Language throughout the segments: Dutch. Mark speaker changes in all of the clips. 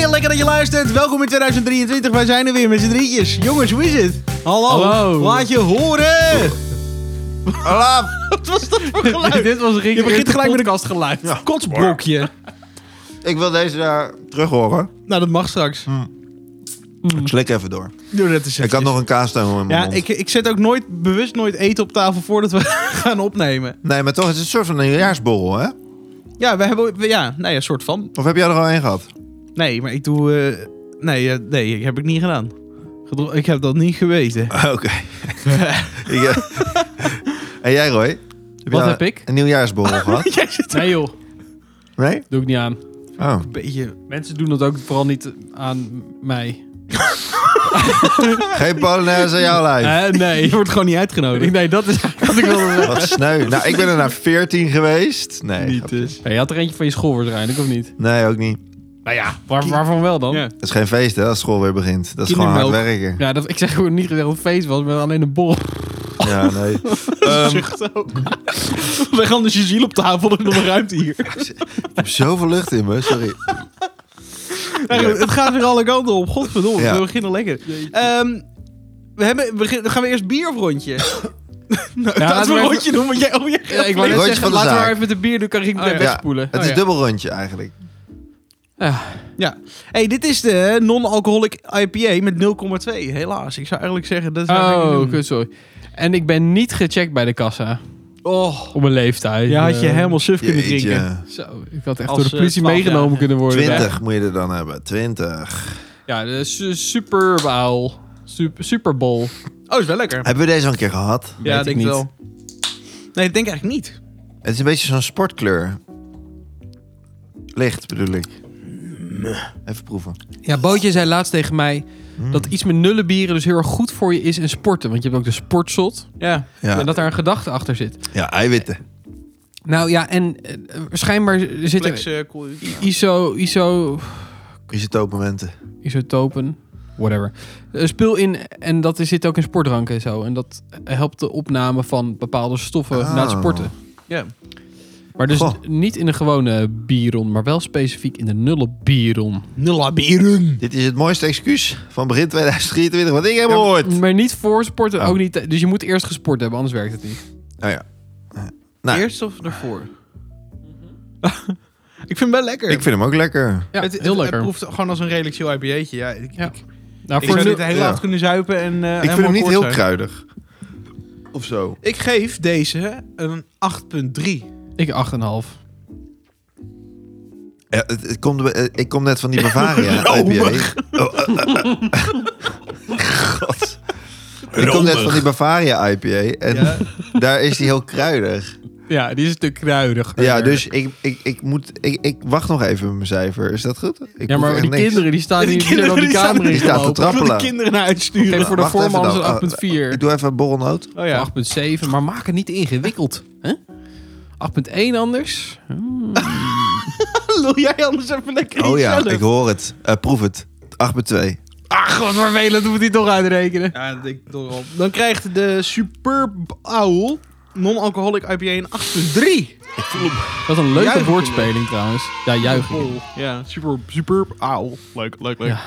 Speaker 1: je, lekker dat je luistert. Welkom in 2023, wij zijn er weer met z'n drietjes. Jongens, hoe is het? Hallo,
Speaker 2: Hallo.
Speaker 1: laat je horen!
Speaker 3: Hallo.
Speaker 1: Wat was dat voor geluid?
Speaker 2: Dit was een
Speaker 1: Je begint gelijk met een
Speaker 2: kastgeluid.
Speaker 3: Ja.
Speaker 1: kotsblokje.
Speaker 3: Ik wil deze daar terug horen.
Speaker 1: Nou, dat mag straks.
Speaker 3: Ik slik even door.
Speaker 1: Doe dat eens
Speaker 3: Hm. Ik had
Speaker 1: even.
Speaker 3: nog een kaasstengel in mijn
Speaker 1: Ja,
Speaker 3: mond.
Speaker 1: ik, ik zet ook nooit, bewust nooit eten op tafel voordat we gaan opnemen.
Speaker 3: Nee, maar toch is het een soort van een jaarsborrel, hè?
Speaker 1: Ja, we hebben, we- ja, nee, een soort van.
Speaker 3: Of heb jij er al één gehad?
Speaker 1: Nee, maar ik doe, eh, nee, eh, nee, heb ik niet gedaan. Gedro- Ik heb dat niet geweten.
Speaker 3: Oké. Ik, eh, en jij, Roy? Heb je
Speaker 2: Wat
Speaker 3: al
Speaker 2: heb ik?
Speaker 3: Een nieuwjaarsborrel gehad?
Speaker 1: Jij zit er
Speaker 2: Nee joh,
Speaker 3: Nee?
Speaker 2: doe ik niet aan.
Speaker 3: Oh.
Speaker 1: een beetje...
Speaker 2: Mensen doen dat ook vooral niet aan mij.
Speaker 3: Geen polonaise aan jouw lijf.
Speaker 2: Eh, nee.
Speaker 1: Je wordt gewoon niet uitgenodigd.
Speaker 2: nee, dat is eigenlijk wat ik wilde zeggen.
Speaker 3: Wat sneu. Nou, ik ben er naar 14 geweest. Nee,
Speaker 1: Niet
Speaker 3: grapje.
Speaker 1: dus.
Speaker 2: Ja, je had er eentje van je school waarschijnlijk, of niet?
Speaker 3: nee, ook niet.
Speaker 2: Nou ja, waar, waarvan wel dan?
Speaker 1: Ja.
Speaker 2: Ja,
Speaker 3: Het is geen feest, hè, als school weer begint. Dat is gewoon hard
Speaker 1: Kindermelk.
Speaker 3: werken.
Speaker 2: dat, ik zeg gewoon niet gezegd hoe het feest was, maar alleen een bol.
Speaker 3: Ja, nee. Ehm,
Speaker 1: Zucht ook. Leg anders je ziel op tafel, er is nog een ruimte hier.
Speaker 3: ik heb zoveel lucht in me, sorry.
Speaker 1: Eigenlijk, Nou, Het gaat weer alle kanten op, godverdomme.
Speaker 3: Ja.
Speaker 1: We beginnen lekker. Ehm, we hebben, we gaan- gaan we eerst bier of rondje? nou,
Speaker 2: laten
Speaker 1: laten we
Speaker 2: we
Speaker 1: een
Speaker 2: even-
Speaker 1: rondje doen, want jij... Oh, jij
Speaker 2: Ja, ik wou
Speaker 3: Rondje
Speaker 2: net
Speaker 3: van
Speaker 2: zeggen,
Speaker 3: de
Speaker 2: laten we
Speaker 3: zaak.
Speaker 2: maar even met de bier doen, kan ik
Speaker 1: Oh, ja.
Speaker 2: meteen wegspoelen.
Speaker 3: Het is
Speaker 2: Oh, ja.
Speaker 3: dubbel rondje eigenlijk.
Speaker 2: Ja.
Speaker 1: hey, dit is de non-alcoholic IPA met 0,2. Helaas, ik zou eigenlijk zeggen... Dat zou ik niet
Speaker 2: Oh,
Speaker 1: doen.
Speaker 2: kut, sorry. En ik ben niet gecheckt bij de kassa.
Speaker 1: Oh,
Speaker 2: Op mijn leeftijd.
Speaker 1: je had je
Speaker 2: Eh,
Speaker 1: helemaal suf kunnen drinken.
Speaker 3: Jeetje.
Speaker 2: Zo, ik had echt
Speaker 1: Als,
Speaker 2: door de
Speaker 1: eh,
Speaker 2: politie
Speaker 1: 12
Speaker 2: meegenomen
Speaker 1: jaar.
Speaker 2: kunnen worden.
Speaker 3: 20 moet je er dan hebben. 20.
Speaker 2: Ja, de su Super Bowl. Super, super Bowl.
Speaker 1: Oh, is wel lekker.
Speaker 3: Hebben we deze al een keer gehad?
Speaker 1: Ja,
Speaker 2: ik
Speaker 1: denk ik
Speaker 2: niet.
Speaker 1: wel. Nee, ik denk eigenlijk niet.
Speaker 3: Het is een beetje zo'n sportkleur. Licht bedoel ik. Even proeven.
Speaker 2: Ja, Bootje zei laatst tegen mij
Speaker 3: Hmm.
Speaker 2: dat iets met nullen bieren dus heel erg goed voor je is in sporten. Want je hebt ook de sportzot.
Speaker 1: Ja.
Speaker 3: Ja,
Speaker 2: En dat daar een gedachte achter zit.
Speaker 3: ja eiwitten.
Speaker 2: Nou ja, en eh, schijnbaar zit er
Speaker 1: Flex, eh, cool.
Speaker 2: iso, iso,
Speaker 3: Isotoopmomenten.
Speaker 2: isotopen, whatever, Eh, spul in. En dat zit ook in sportdranken en zo. En dat helpt de opname van bepaalde stoffen
Speaker 3: Oh.
Speaker 2: na het sporten.
Speaker 1: Ja.
Speaker 2: Maar dus
Speaker 3: Goh.
Speaker 2: niet in een gewone bieron, maar wel specifiek in de nullen bieron.
Speaker 1: Nulla bieren.
Speaker 3: Dit is het mooiste excuus van begin 2023 wat ik heb gehoord.
Speaker 2: Maar niet voor sporten,
Speaker 3: Oh.
Speaker 2: ook niet. Dus je moet eerst gesport hebben, anders werkt het niet.
Speaker 3: Nou ja. Nou.
Speaker 1: Eerst of daarvoor? ik vind hem wel lekker.
Speaker 3: Ik vind hem ook lekker.
Speaker 2: Ja,
Speaker 1: het,
Speaker 2: heel
Speaker 1: het-
Speaker 2: lekker.
Speaker 1: Het proeft gewoon als een redelijk chill IPA'tje. Ja, ik,
Speaker 2: Ja.
Speaker 1: ik,
Speaker 2: nou,
Speaker 1: ik
Speaker 2: voor
Speaker 1: zou
Speaker 2: nu,
Speaker 1: dit de hele
Speaker 3: ja.
Speaker 1: avond kunnen zuipen en eh,
Speaker 3: Ik vind
Speaker 1: helemaal
Speaker 3: hem niet
Speaker 1: akkoord
Speaker 3: heel
Speaker 1: zijn.
Speaker 3: kruidig. Of zo.
Speaker 1: Ik geef deze een 8.3.
Speaker 2: ik 8,5.
Speaker 3: Ja, het, het komt, eh, ik kom net van die Bavaria. IPA. Oh, eh, eh, eh. God. Ik kom net van die Bavaria IPA. En
Speaker 1: Ja.
Speaker 3: daar is die heel kruidig.
Speaker 2: Ja, die is een stuk kruidig.
Speaker 3: Ja, dus ik, ik, ik, moet, ik, ik wacht nog even met mijn cijfer. Is dat goed? Ik
Speaker 2: Ja,
Speaker 3: hoef
Speaker 2: maar
Speaker 3: echt
Speaker 2: die
Speaker 3: niks.
Speaker 2: kinderen die staan
Speaker 1: Die
Speaker 2: hier die zijn
Speaker 1: kinderen
Speaker 2: al die
Speaker 1: die staan-
Speaker 2: kamer in
Speaker 3: die staan te
Speaker 2: gelopen.
Speaker 3: trappen.
Speaker 1: Ik wil de
Speaker 3: Trappelaar.
Speaker 1: kinderen naar
Speaker 2: Geef
Speaker 1: uitsturen.
Speaker 2: voor de
Speaker 3: Wacht even
Speaker 2: voorman
Speaker 3: dan. Oh,
Speaker 2: is
Speaker 3: Ik
Speaker 2: een 8,4.
Speaker 3: doe even een borrelnoot.
Speaker 1: Oh ja.
Speaker 2: 8,7, maar maak het niet ingewikkeld. hè? 8,1 anders. Hmm.
Speaker 1: Lul jij anders even lekker
Speaker 3: Oh
Speaker 1: iets
Speaker 3: ja,
Speaker 1: zelf?
Speaker 3: ik hoor het. Eh, proef het. 8 bij 2.
Speaker 1: Ah,
Speaker 2: Ach, wat vervelend, moet hij toch uitrekenen.
Speaker 1: Ja, dat denk ik toch wel. Dan krijgt de Superb Owl non-alcoholic IPA een 8.3.
Speaker 2: Wat een leuke
Speaker 1: Juichen.
Speaker 2: woordspeling trouwens. Ja, juichen.
Speaker 1: Oh, Ja, super, superb owl. Leuk, leuk, leuk.
Speaker 2: Ja.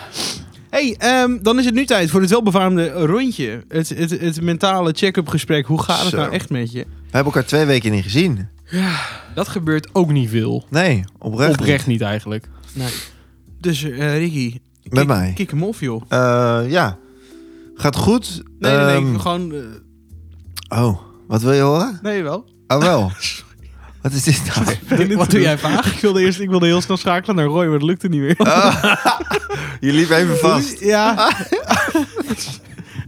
Speaker 1: hey, ehm, dan is het nu tijd voor het welbefaamde rondje. Het, het, het mentale check-up gesprek. Hoe gaat het
Speaker 3: Zo.
Speaker 1: nou echt met je?
Speaker 3: We hebben elkaar twee weken niet gezien.
Speaker 2: Dat gebeurt ook niet veel.
Speaker 3: Nee, oprecht. niet.
Speaker 2: Oprecht niet eigenlijk.
Speaker 1: Nee. Dus eh, Ricky,
Speaker 3: Met mij.
Speaker 1: kick hem off joh.
Speaker 3: Eh, ja. Gaat goed.
Speaker 1: Nee, nee, nee,
Speaker 3: Ehm,
Speaker 1: gewoon... eh,
Speaker 3: Oh, wat wil je horen?
Speaker 1: nee, wel.
Speaker 3: Oh wel. wat is dit nou?
Speaker 2: Wat doe jij vaak?
Speaker 1: Ik wilde, eerst, ik wilde heel snel schakelen naar Roy, maar dat lukte niet meer.
Speaker 3: Je liep even vast.
Speaker 1: Ja. Dus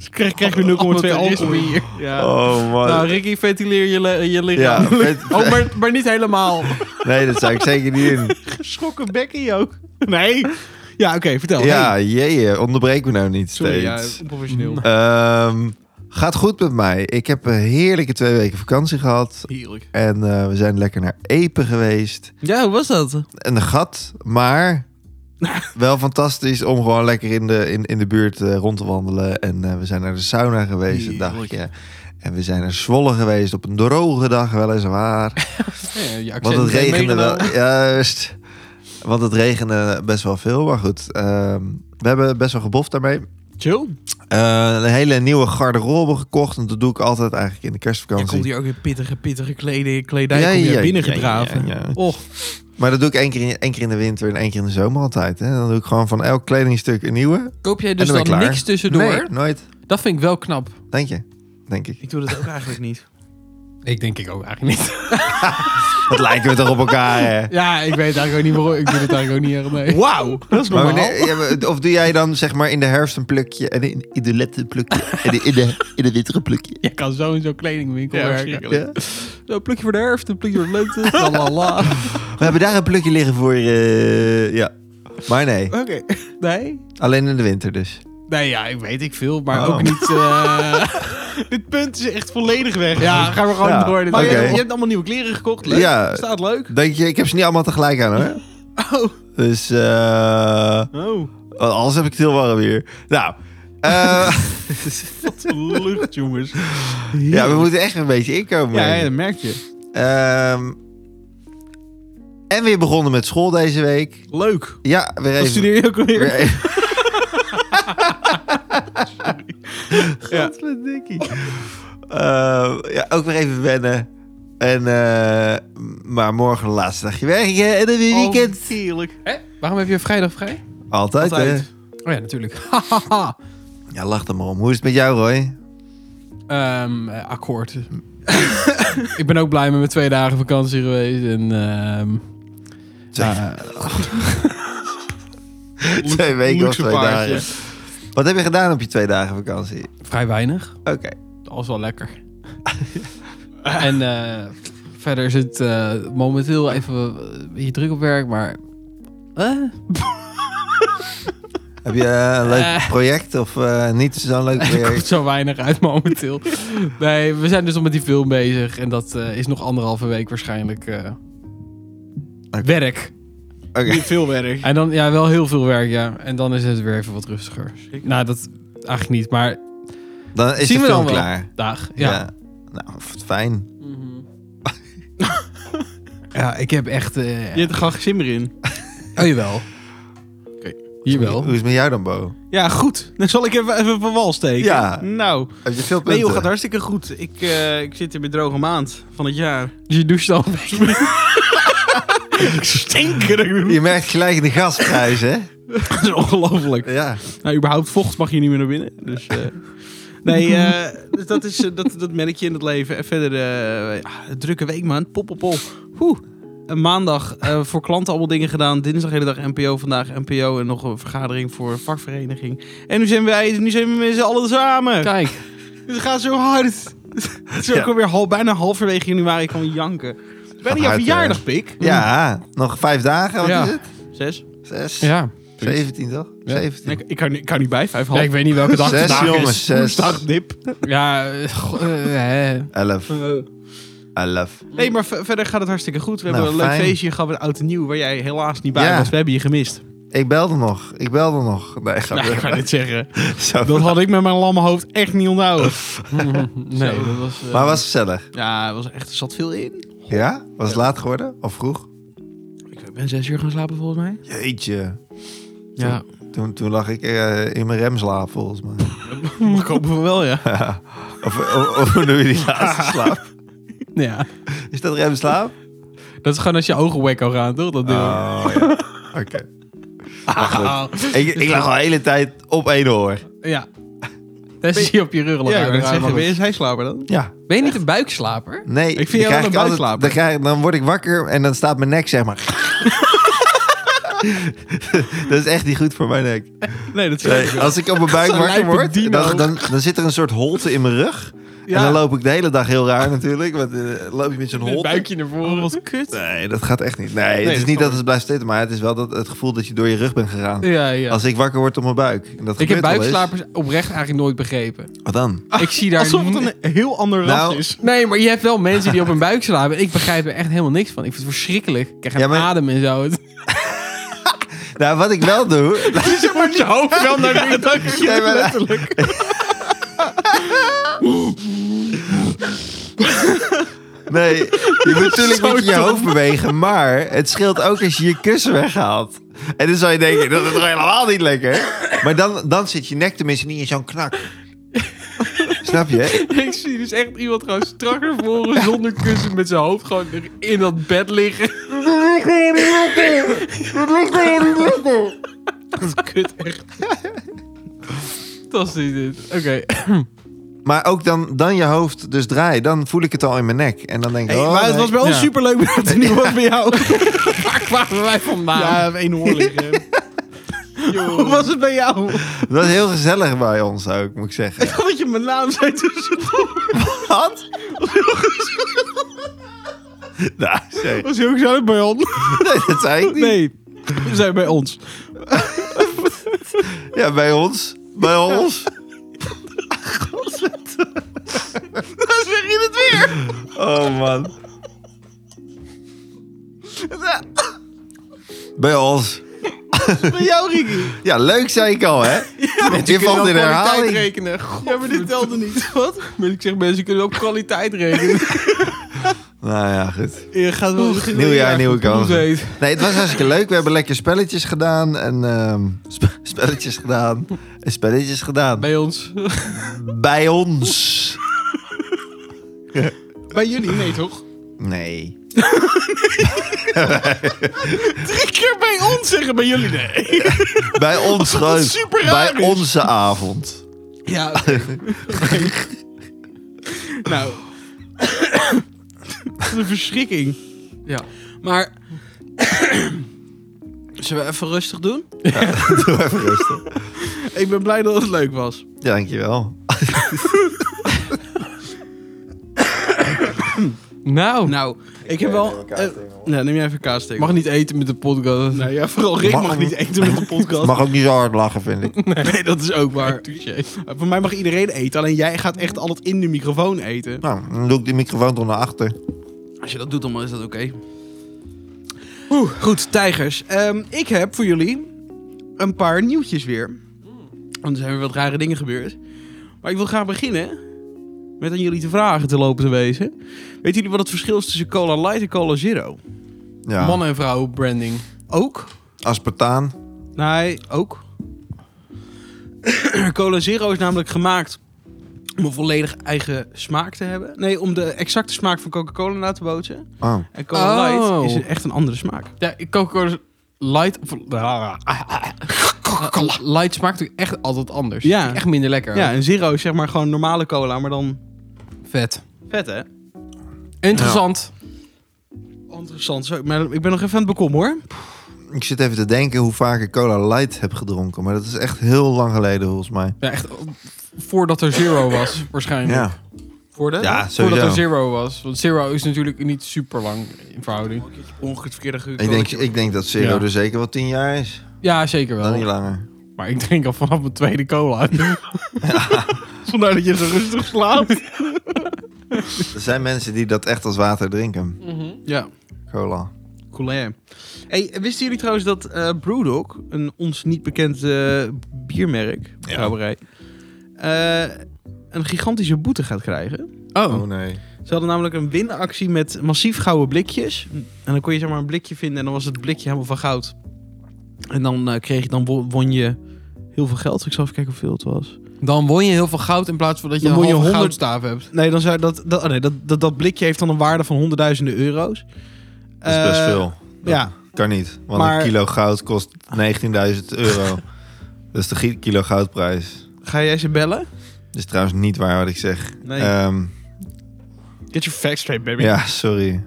Speaker 1: ik krijg, krijg weer 0,2
Speaker 2: Wat een
Speaker 1: alcohol.
Speaker 2: ritme hier.
Speaker 1: Ja.
Speaker 3: Oh man.
Speaker 2: Nou, Ricky, ventileer je, le- je lichaam.
Speaker 3: Ja, vet-
Speaker 2: Oh, maar, maar niet helemaal.
Speaker 3: nee, dat zou ik zeker niet doen.
Speaker 1: Geschrokken bekkie ook. Nee. Ja, oké, vertel.
Speaker 3: Ja,
Speaker 1: Hey. Nou.
Speaker 3: jee, onderbreek me nou niet steeds.
Speaker 1: Sorry, ja, onprofessioneel.
Speaker 3: Ehm, gaat goed met mij. Ik heb een heerlijke twee weken vakantie gehad.
Speaker 1: Heerlijk.
Speaker 3: En eh, we zijn lekker naar Epe geweest.
Speaker 1: Ja, hoe was dat?
Speaker 3: En de gat, maar wel fantastisch om gewoon lekker in de, in, in de buurt eh, rond te wandelen. En eh, we zijn naar de sauna geweest een
Speaker 1: Heerlijk.
Speaker 3: dagje. En we zijn naar Zwolle geweest op een droge dag weliswaar.
Speaker 2: Ja, je accent
Speaker 3: Want het
Speaker 2: is
Speaker 3: regende
Speaker 2: meegenomen.
Speaker 3: wel. Juist. Want het regende best wel veel. Maar goed, ehm, we hebben best wel geboft daarmee.
Speaker 1: Chill.
Speaker 3: Eh, een hele nieuwe garderobe gekocht. En dat doe ik altijd eigenlijk in de
Speaker 1: Dan
Speaker 3: kerstvakantie.
Speaker 1: komt hier ook weer pittige, pittige kleden, kledij
Speaker 3: Ja,
Speaker 1: kom je
Speaker 3: ja,
Speaker 1: binnen
Speaker 3: ja,
Speaker 1: gedraven.
Speaker 3: ja, ja.
Speaker 1: Och,
Speaker 3: Maar dat doe ik één keer, in, één keer in de winter en één keer in de zomer altijd. Hè. Dan doe ik gewoon van elk kledingstuk een nieuwe.
Speaker 2: Koop jij dus
Speaker 3: en
Speaker 2: dan,
Speaker 3: ben ik klaar.
Speaker 2: niks tussendoor?
Speaker 3: Nee, nooit.
Speaker 2: Dat vind ik wel knap.
Speaker 3: Denk je? Denk ik.
Speaker 1: ik doe dat ook eigenlijk niet.
Speaker 2: Ik denk ik ook eigenlijk niet.
Speaker 3: Wat lijken we toch op elkaar, hè?
Speaker 2: Ja, ik weet eigenlijk ook niet waarom. Ik doe het eigenlijk ook niet erg mee.
Speaker 1: Wauw, dat is
Speaker 3: Maar
Speaker 1: normaal.
Speaker 3: wanneer, ja, maar- of doe jij dan zeg maar in de herfst een plukje en in, in de lente een plukje en in de, in de winter een plukje?
Speaker 2: Je kan zo in zo'n kledingwinkel
Speaker 1: Ja,
Speaker 2: werken.
Speaker 1: verschrikkelijk.
Speaker 3: Ja.
Speaker 2: Zo, een plukje voor de herfst, een plukje voor de lente. Lalala.
Speaker 3: We hebben daar een plukje liggen voor, eh, ja. Maar nee,
Speaker 1: Oké.
Speaker 2: Nee?
Speaker 3: alleen in de winter dus.
Speaker 2: Nee, ja, ik weet ik veel, maar
Speaker 3: Oh.
Speaker 2: ook niet... eh,
Speaker 1: Dit punt is echt volledig weg.
Speaker 2: ja, gaan we gewoon
Speaker 3: Ja,
Speaker 2: door. Dit
Speaker 1: Maar
Speaker 3: Oké.
Speaker 1: je, je hebt allemaal nieuwe kleren gekocht. Leuk.
Speaker 3: Ja.
Speaker 1: Staat leuk.
Speaker 3: Denk je, ik heb ze niet allemaal tegelijk aan, hoor.
Speaker 1: Oh.
Speaker 3: Dus, eh
Speaker 1: Oh,
Speaker 3: anders heb ik het heel warm hier. Nou, eh,
Speaker 1: wat een lucht, jongens.
Speaker 3: ja, we moeten echt een beetje inkomen.
Speaker 1: Ja, ja, dat merk je.
Speaker 3: Ehm, en weer begonnen met school deze week.
Speaker 1: Leuk.
Speaker 3: Ja, weer
Speaker 1: Dan
Speaker 3: even.
Speaker 1: studeer je ook alweer.
Speaker 3: weer even-
Speaker 1: Ja.
Speaker 3: Godverdikkie. Ehm, ja, ook weer even wennen. En, eh, maar morgen de laatste dagje werken en dan weer weekend.
Speaker 1: Oh, heerlijk.
Speaker 2: Hè? Waarom heb je vrijdag vrij?
Speaker 3: Altijd, hè?
Speaker 1: Altijd.
Speaker 2: Oh ja, natuurlijk.
Speaker 3: Ja, lach er maar om. Hoe is het met jou, Roy?
Speaker 2: Ehm, eh, akkoord. ik ben ook blij met mijn twee dagen vakantie geweest. En, ehm, eh,
Speaker 3: Twee,
Speaker 2: ja,
Speaker 3: twee weken of
Speaker 1: Luxe
Speaker 3: twee
Speaker 1: paardje.
Speaker 3: dagen. Wat heb je gedaan op je twee dagen vakantie?
Speaker 2: vrij weinig.
Speaker 3: Oké.
Speaker 2: Alles wel lekker. en eh, verder is het eh, momenteel even eh, hier druk op werk, maar... eh,
Speaker 3: Heb je eh, een leuk
Speaker 2: Eh.
Speaker 3: project of eh, niet zo'n leuk
Speaker 2: er komt
Speaker 3: project?
Speaker 2: zo weinig uit momenteel. nee, we zijn dus al met die film bezig. En dat eh, is nog anderhalve week waarschijnlijk eh,
Speaker 3: Oké.
Speaker 2: werk.
Speaker 3: Oké.
Speaker 1: Niet veel werk.
Speaker 2: En dan, ja, wel heel veel werk, ja. En dan is het weer even wat rustiger.
Speaker 1: Zeker.
Speaker 2: Nou, dat eigenlijk niet, maar
Speaker 3: Dan
Speaker 2: Zien
Speaker 3: is de
Speaker 2: we
Speaker 3: film
Speaker 2: dan wel.
Speaker 3: klaar.
Speaker 2: dag, ja.
Speaker 3: Nou, wat fijn.
Speaker 2: Ja, ik heb echt... eh
Speaker 1: Je hebt er gewoon geen zin meer in.
Speaker 2: Oh, jawel.
Speaker 1: Oké.
Speaker 2: Jawel.
Speaker 3: Hoe is het met jou dan, Bo?
Speaker 1: Ja, goed. Dan zal ik even, even van wal steken.
Speaker 3: Ja.
Speaker 1: Nou,
Speaker 3: Heb je veel punten?
Speaker 1: nee joh, gaat hartstikke goed. Ik, eh, ik zit in mijn droge maand van het jaar.
Speaker 2: Dus je doucht al een beetje.
Speaker 1: Stinkerig.
Speaker 3: Je merkt gelijk de gasprijs, hè?
Speaker 1: Dat is ongelooflijk.
Speaker 3: Ja.
Speaker 1: Nou, überhaupt vocht mag je niet meer naar binnen. Dus, eh, nee, eh, dus dat, is, eh, dat, dat merk je in het leven. En verder, eh, ja, een drukke week man. Pop, pop, pop. Oeh. Een Maandag eh, voor klanten allemaal dingen gedaan. Dinsdag hele dag NPO, vandaag NPO. En nog een vergadering voor een vakvereniging. En nu zijn wij, nu zijn we met z'n allen samen.
Speaker 2: Kijk.
Speaker 1: Het gaat zo hard. Het is ook
Speaker 3: Ja.
Speaker 1: alweer hal, bijna halverwege januari. Ik kan janken. Het is
Speaker 3: Gaat
Speaker 1: bijna jouw
Speaker 3: hard,
Speaker 1: verjaardag, Pik.
Speaker 3: ja, nog vijf dagen, wat
Speaker 2: Ja.
Speaker 3: is het?
Speaker 1: Zes.
Speaker 3: Zes?
Speaker 2: Ja.
Speaker 3: 17 toch?
Speaker 2: Ja.
Speaker 3: 17.
Speaker 1: Ik, ik, kan, ik kan niet bij. Vijf, half.
Speaker 2: Ja, ik weet niet welke dag
Speaker 3: Zes,
Speaker 2: het vandaag
Speaker 3: jongens.
Speaker 2: is.
Speaker 3: Zes.
Speaker 1: Woensdag, dip.
Speaker 2: Ja, eh, go- eh, eh.
Speaker 3: 11. 11.
Speaker 1: Nee, maar ver- verder gaat het hartstikke goed. We
Speaker 3: Nou,
Speaker 1: hebben een leuk
Speaker 3: fijn.
Speaker 1: feestje gehad met oud en nieuw, waar jij helaas niet bij
Speaker 3: Ja.
Speaker 1: was. We hebben je gemist.
Speaker 3: Ik belde nog. Ik belde nog. Nee, ga
Speaker 1: Nou, ik kan
Speaker 3: weer.
Speaker 1: dit zeggen.
Speaker 3: Zo.
Speaker 1: Dat had ik met mijn lamme hoofd echt niet onthouden.
Speaker 2: nee, dat was... eh,
Speaker 3: Maar was het gezellig?
Speaker 1: Ja, er was echt, er zat veel in.
Speaker 3: Ja? Was het laat geworden? Of vroeg?
Speaker 1: Ik ben zes uur gaan slapen volgens mij.
Speaker 3: Jeetje.
Speaker 2: Ja.
Speaker 3: Toen, toen lag ik eh, in mijn remslaap, volgens mij.
Speaker 1: Ik hoop van wel, ja.
Speaker 3: Of, of, of hoe noem je die laatste slaap?
Speaker 2: ja.
Speaker 3: Is dat remslaap?
Speaker 2: Dat is gewoon als je ogen wacko gaan, toch? Dat ding.
Speaker 3: Oh, ja. Oké. Maar goed.
Speaker 2: Ah,
Speaker 3: Ik, ik lag al de hele tijd op één oor.
Speaker 2: ja. Dat zie je op je rug.
Speaker 1: Ja, ik
Speaker 2: ben,
Speaker 1: wou zeggen, ben je hij slaper dan?
Speaker 3: Ja.
Speaker 2: ben je niet een buikslaper?
Speaker 3: Nee.
Speaker 1: Ik vind
Speaker 3: dan
Speaker 1: jou wel
Speaker 3: krijg
Speaker 1: een
Speaker 3: ik altijd-
Speaker 1: buikslaper.
Speaker 3: dan, krijg, dan word ik wakker en dan staat mijn nek, zeg maar. dat is echt niet goed voor mijn nek.
Speaker 1: Nee, dat is
Speaker 3: Nee, als ik op mijn buik
Speaker 1: Zo'n
Speaker 3: wakker
Speaker 1: lijpe
Speaker 3: word,
Speaker 1: dino.
Speaker 3: dan, dan, dan zit er een soort holte in mijn rug. En dan loop ik de hele dag heel raar natuurlijk. Want eh, loop je met zo'n
Speaker 2: Een
Speaker 3: holte.
Speaker 2: buikje naar
Speaker 1: Oh,
Speaker 2: voren.
Speaker 1: wat kut.
Speaker 3: Nee, dat gaat echt niet. Nee,
Speaker 1: dat
Speaker 3: het is
Speaker 1: snap
Speaker 3: niet dat
Speaker 1: ik.
Speaker 3: het blijft zitten, maar het is wel dat, het gevoel dat je door je rug bent gegaan.
Speaker 2: Ja, ja.
Speaker 3: Als ik wakker word op mijn buik. En dat
Speaker 2: Ik heb
Speaker 3: gebeurt wel eens.
Speaker 2: buikslapers oprecht eigenlijk nooit begrepen.
Speaker 3: Wat dan?
Speaker 2: Ik zie daar...
Speaker 1: Alsof het een heel ander ras
Speaker 3: Nou,
Speaker 1: is.
Speaker 2: Nee, maar je hebt wel mensen die op hun buik slapen. Ik begrijp er echt helemaal niks van. Ik vind het verschrikkelijk. Ik krijg een
Speaker 3: Ja, maar-
Speaker 2: adem en zo.
Speaker 3: Nou, wat ik wel doe.
Speaker 1: Je wordt je hoofd wel naar de dak.
Speaker 3: Nee, maar-
Speaker 1: Letterlijk.
Speaker 3: Nee, je moet natuurlijk
Speaker 1: Zo
Speaker 3: met je
Speaker 1: dom.
Speaker 3: hoofd bewegen, maar het scheelt ook als je je kussen weghaalt. En dan zou je denken, dat is toch helemaal niet lekker? Maar dan, dan zit je nek tenminste niet in zo'n knak. Snap je?
Speaker 2: Ik zie dus echt iemand gewoon strak naar voren zonder kussen met zijn hoofd gewoon in dat bed liggen.
Speaker 1: Dat is kut, echt.
Speaker 2: Fantastisch dit. Oké.
Speaker 3: Maar ook dan, dan je hoofd dus draaien, dan voel ik het al in mijn nek. En dan denk ik,
Speaker 1: Hey,
Speaker 3: oh,
Speaker 1: maar het
Speaker 3: nee.
Speaker 1: was bij ons
Speaker 2: Ja.
Speaker 1: superleuk, maar het is niet wat bij jou.
Speaker 2: Waar kwamen wij vandaan?
Speaker 1: Ja, één hoor liggen. Hoe was het bij jou?
Speaker 3: dat was heel gezellig bij ons ook, moet ik zeggen.
Speaker 1: Ik dacht dat je mijn naam zei
Speaker 2: dus
Speaker 1: tussendoor.
Speaker 3: Wat? nou, sorry.
Speaker 1: Was je ook zo bij ons?
Speaker 3: Nee, dat zei ik niet.
Speaker 1: Nee, we zijn bij ons.
Speaker 3: Ja, bij ons. Bij ons.
Speaker 1: Dan zeg je het weer.
Speaker 3: Oh man. Bij ons.
Speaker 1: Bij jou, Ricky.
Speaker 3: Ja, leuk zei ik al, hè? je valt in herhaling.
Speaker 2: rekenen. God,
Speaker 1: Ja, maar dit telde niet. Wat?
Speaker 2: Ik zeg mensen kunnen ook kwaliteit rekenen.
Speaker 3: Nou ja, goed.
Speaker 1: Je gaat wel beginnen.
Speaker 3: Nieuw jaar, nieuwe
Speaker 2: goed,
Speaker 3: kansen.
Speaker 2: hoe heet.
Speaker 3: Nee, het was hartstikke leuk. We hebben lekker spelletjes gedaan. En ehm, sp- spelletjes gedaan. En spelletjes gedaan.
Speaker 2: Bij ons.
Speaker 3: Bij ons.
Speaker 1: Bij jullie? Nee, toch?
Speaker 3: Nee.
Speaker 1: Drie keer bij ons zeggen bij jullie nee.
Speaker 3: Bij ons gewoon.
Speaker 1: super raar
Speaker 3: Bij
Speaker 1: is.
Speaker 3: onze avond.
Speaker 1: Ja. oké. Oké. nou. Wat een verschrikking.
Speaker 2: Ja.
Speaker 1: Maar. Zullen we even rustig doen?
Speaker 3: Doe even rustig.
Speaker 1: Ik ben blij dat het leuk was.
Speaker 3: Ja, dankjewel.
Speaker 2: Nou.
Speaker 1: Nou, ik heb wel. eh, nou, neem jij even kaas tegen.
Speaker 2: Mag niet eten met de podcast.
Speaker 1: Nou ja, vooral Rick mag,
Speaker 3: Mag-
Speaker 1: niet eten met de podcast.
Speaker 3: Mag ook niet zo hard lachen, vind ik.
Speaker 1: Nee, dat is ook waar. Eh, Voor mij mag iedereen eten, alleen jij gaat echt altijd in de microfoon eten.
Speaker 3: Nou, dan doe ik die microfoon toch naar achter.
Speaker 1: Als je dat doet, dan is dat oké. Oeh, goed, tijgers. Ehm, ik heb voor jullie een paar nieuwtjes weer. Want er zijn weer wat rare dingen gebeurd. Maar ik wil graag beginnen met aan jullie te vragen te lopen te wezen. Weten jullie wat het verschil is tussen Cola Light en Cola Zero?
Speaker 3: Ja.
Speaker 2: Mannen en vrouwen branding.
Speaker 1: Ook?
Speaker 3: Aspartaan.
Speaker 1: Nee, ook. Cola Zero is namelijk gemaakt om een volledig eigen smaak te hebben. Nee, om de exacte smaak van Coca-Cola na te bootsen.
Speaker 3: Oh.
Speaker 1: En Cola
Speaker 2: Oh.
Speaker 1: Light is een- echt een andere smaak.
Speaker 2: Ja, Coca-Cola Light... Of, Coca-Cola. Light smaakt natuurlijk echt altijd anders.
Speaker 1: Ja.
Speaker 2: Vind ik Echt minder lekker.
Speaker 1: Ja, en Zero is zeg maar gewoon normale cola, maar dan
Speaker 2: Vet.
Speaker 1: vet, hè?
Speaker 2: Interessant.
Speaker 1: Interessant. Zo, maar ik ben nog even aan het bekom, hoor.
Speaker 3: Ik zit even te denken hoe vaak ik Cola Light heb gedronken. Maar dat is echt heel lang geleden volgens mij.
Speaker 2: Ja, echt oh, voordat er zero was, waarschijnlijk.
Speaker 3: Ja,
Speaker 1: Voor de?
Speaker 3: ja
Speaker 2: Voordat er
Speaker 3: sowieso.
Speaker 2: zero was. Want zero is natuurlijk niet super lang in verhouding.
Speaker 1: Ongeveer het verkeerde
Speaker 3: Ik denk, ik denk dat Zero
Speaker 2: Ja.
Speaker 3: er zeker wel tien jaar is.
Speaker 2: Ja, zeker
Speaker 3: Dan niet
Speaker 2: wel.
Speaker 3: langer.
Speaker 2: Maar ik drink al vanaf mijn tweede cola.
Speaker 1: Vandaar dat je zo rustig slaapt.
Speaker 3: Er zijn mensen die dat echt als water drinken.
Speaker 1: ja,
Speaker 3: Cola.
Speaker 1: cool, hè? Hey, wisten jullie trouwens dat eh Brewdog, een ons niet bekend eh, biermerk, brouwerij, eh, een gigantische boete gaat krijgen?
Speaker 2: Oh.
Speaker 3: nee.
Speaker 1: Ze hadden namelijk een winactie met massief gouden blikjes. En dan kon je zeg maar een blikje vinden en dan was het blikje helemaal van goud. En dan, eh, kreeg je, dan wo- won je heel veel geld. Ik zal even kijken hoeveel het was.
Speaker 2: Dan won je heel veel goud in plaats van dat je
Speaker 1: Dan
Speaker 2: een
Speaker 1: won je
Speaker 2: halve
Speaker 1: 100
Speaker 2: goudstaaf hebt.
Speaker 1: Nee, dan zou dat, dat, oh nee, dat, dat, dat blikje heeft dan een waarde van honderdduizenden euro's.
Speaker 3: Dat is best
Speaker 1: Eh,
Speaker 3: veel.
Speaker 1: Ja,
Speaker 3: Kan niet. Want
Speaker 1: maar-
Speaker 3: een kilo goud kost 19.000 euro. dat is de gi- kilo goudprijs.
Speaker 1: ga jij ze bellen?
Speaker 3: Dat is trouwens niet waar wat ik zeg.
Speaker 1: Nee.
Speaker 3: Ehm,
Speaker 1: Get your facts straight, baby.
Speaker 3: ja, sorry.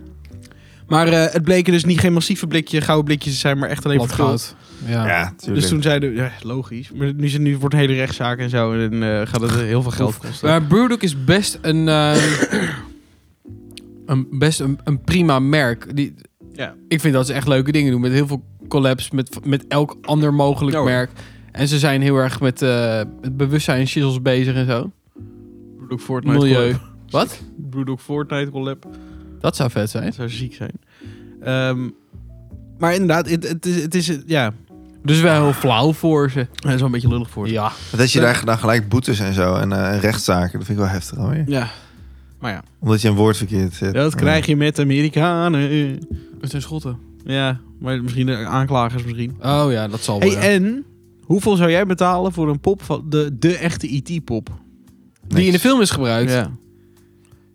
Speaker 1: Maar eh, het bleken dus niet geen massieve blikje, gouden blikjes te zijn, maar echt alleen
Speaker 2: Plat
Speaker 1: voor goud.
Speaker 2: goud. Ja.
Speaker 3: Ja, tuurlijk.
Speaker 1: Dus toen zeiden we, ja, logisch. Maar nu, zit- nu wordt een hele rechtszaak en zo. En eh, gaat het heel veel geld kosten.
Speaker 2: Maar Brewdog is best een, eh, een, best een, een prima merk. Die,
Speaker 1: Ja.
Speaker 2: Ik vind dat ze echt leuke dingen doen. Met heel veel collabs, met, met elk ander mogelijk
Speaker 1: Ja, hoor.
Speaker 2: merk. En ze zijn heel erg met eh, het bewustzijn shizzles bezig en zo.
Speaker 1: Broedok Fortnite
Speaker 2: Milieu. Wat?
Speaker 1: Broedok Fortnite collab.
Speaker 2: Dat zou vet zijn.
Speaker 1: Het zou ziek zijn. Ehm, maar inderdaad, het, het is, het is, ja,
Speaker 2: Dus wel heel flauw voor ze.
Speaker 1: het is wel een beetje lullig voor. ze.
Speaker 2: Ja.
Speaker 3: Want als je daar dan gelijk boetes en zo en eh, rechtszaken, dat vind ik wel heftig alweer.
Speaker 1: Ja. Maar ja,
Speaker 3: Omdat je een woord verkeerd zet.
Speaker 1: dat krijg je met Amerikanen.
Speaker 2: Het zijn schotten.
Speaker 1: Ja, maar misschien de aanklagers misschien.
Speaker 2: Oh ja, dat zal wel.
Speaker 1: Hey,
Speaker 2: ja.
Speaker 1: en hoeveel zou jij betalen voor een pop van de, de echte IT-pop?
Speaker 2: Die in de film is gebruikt. Ja.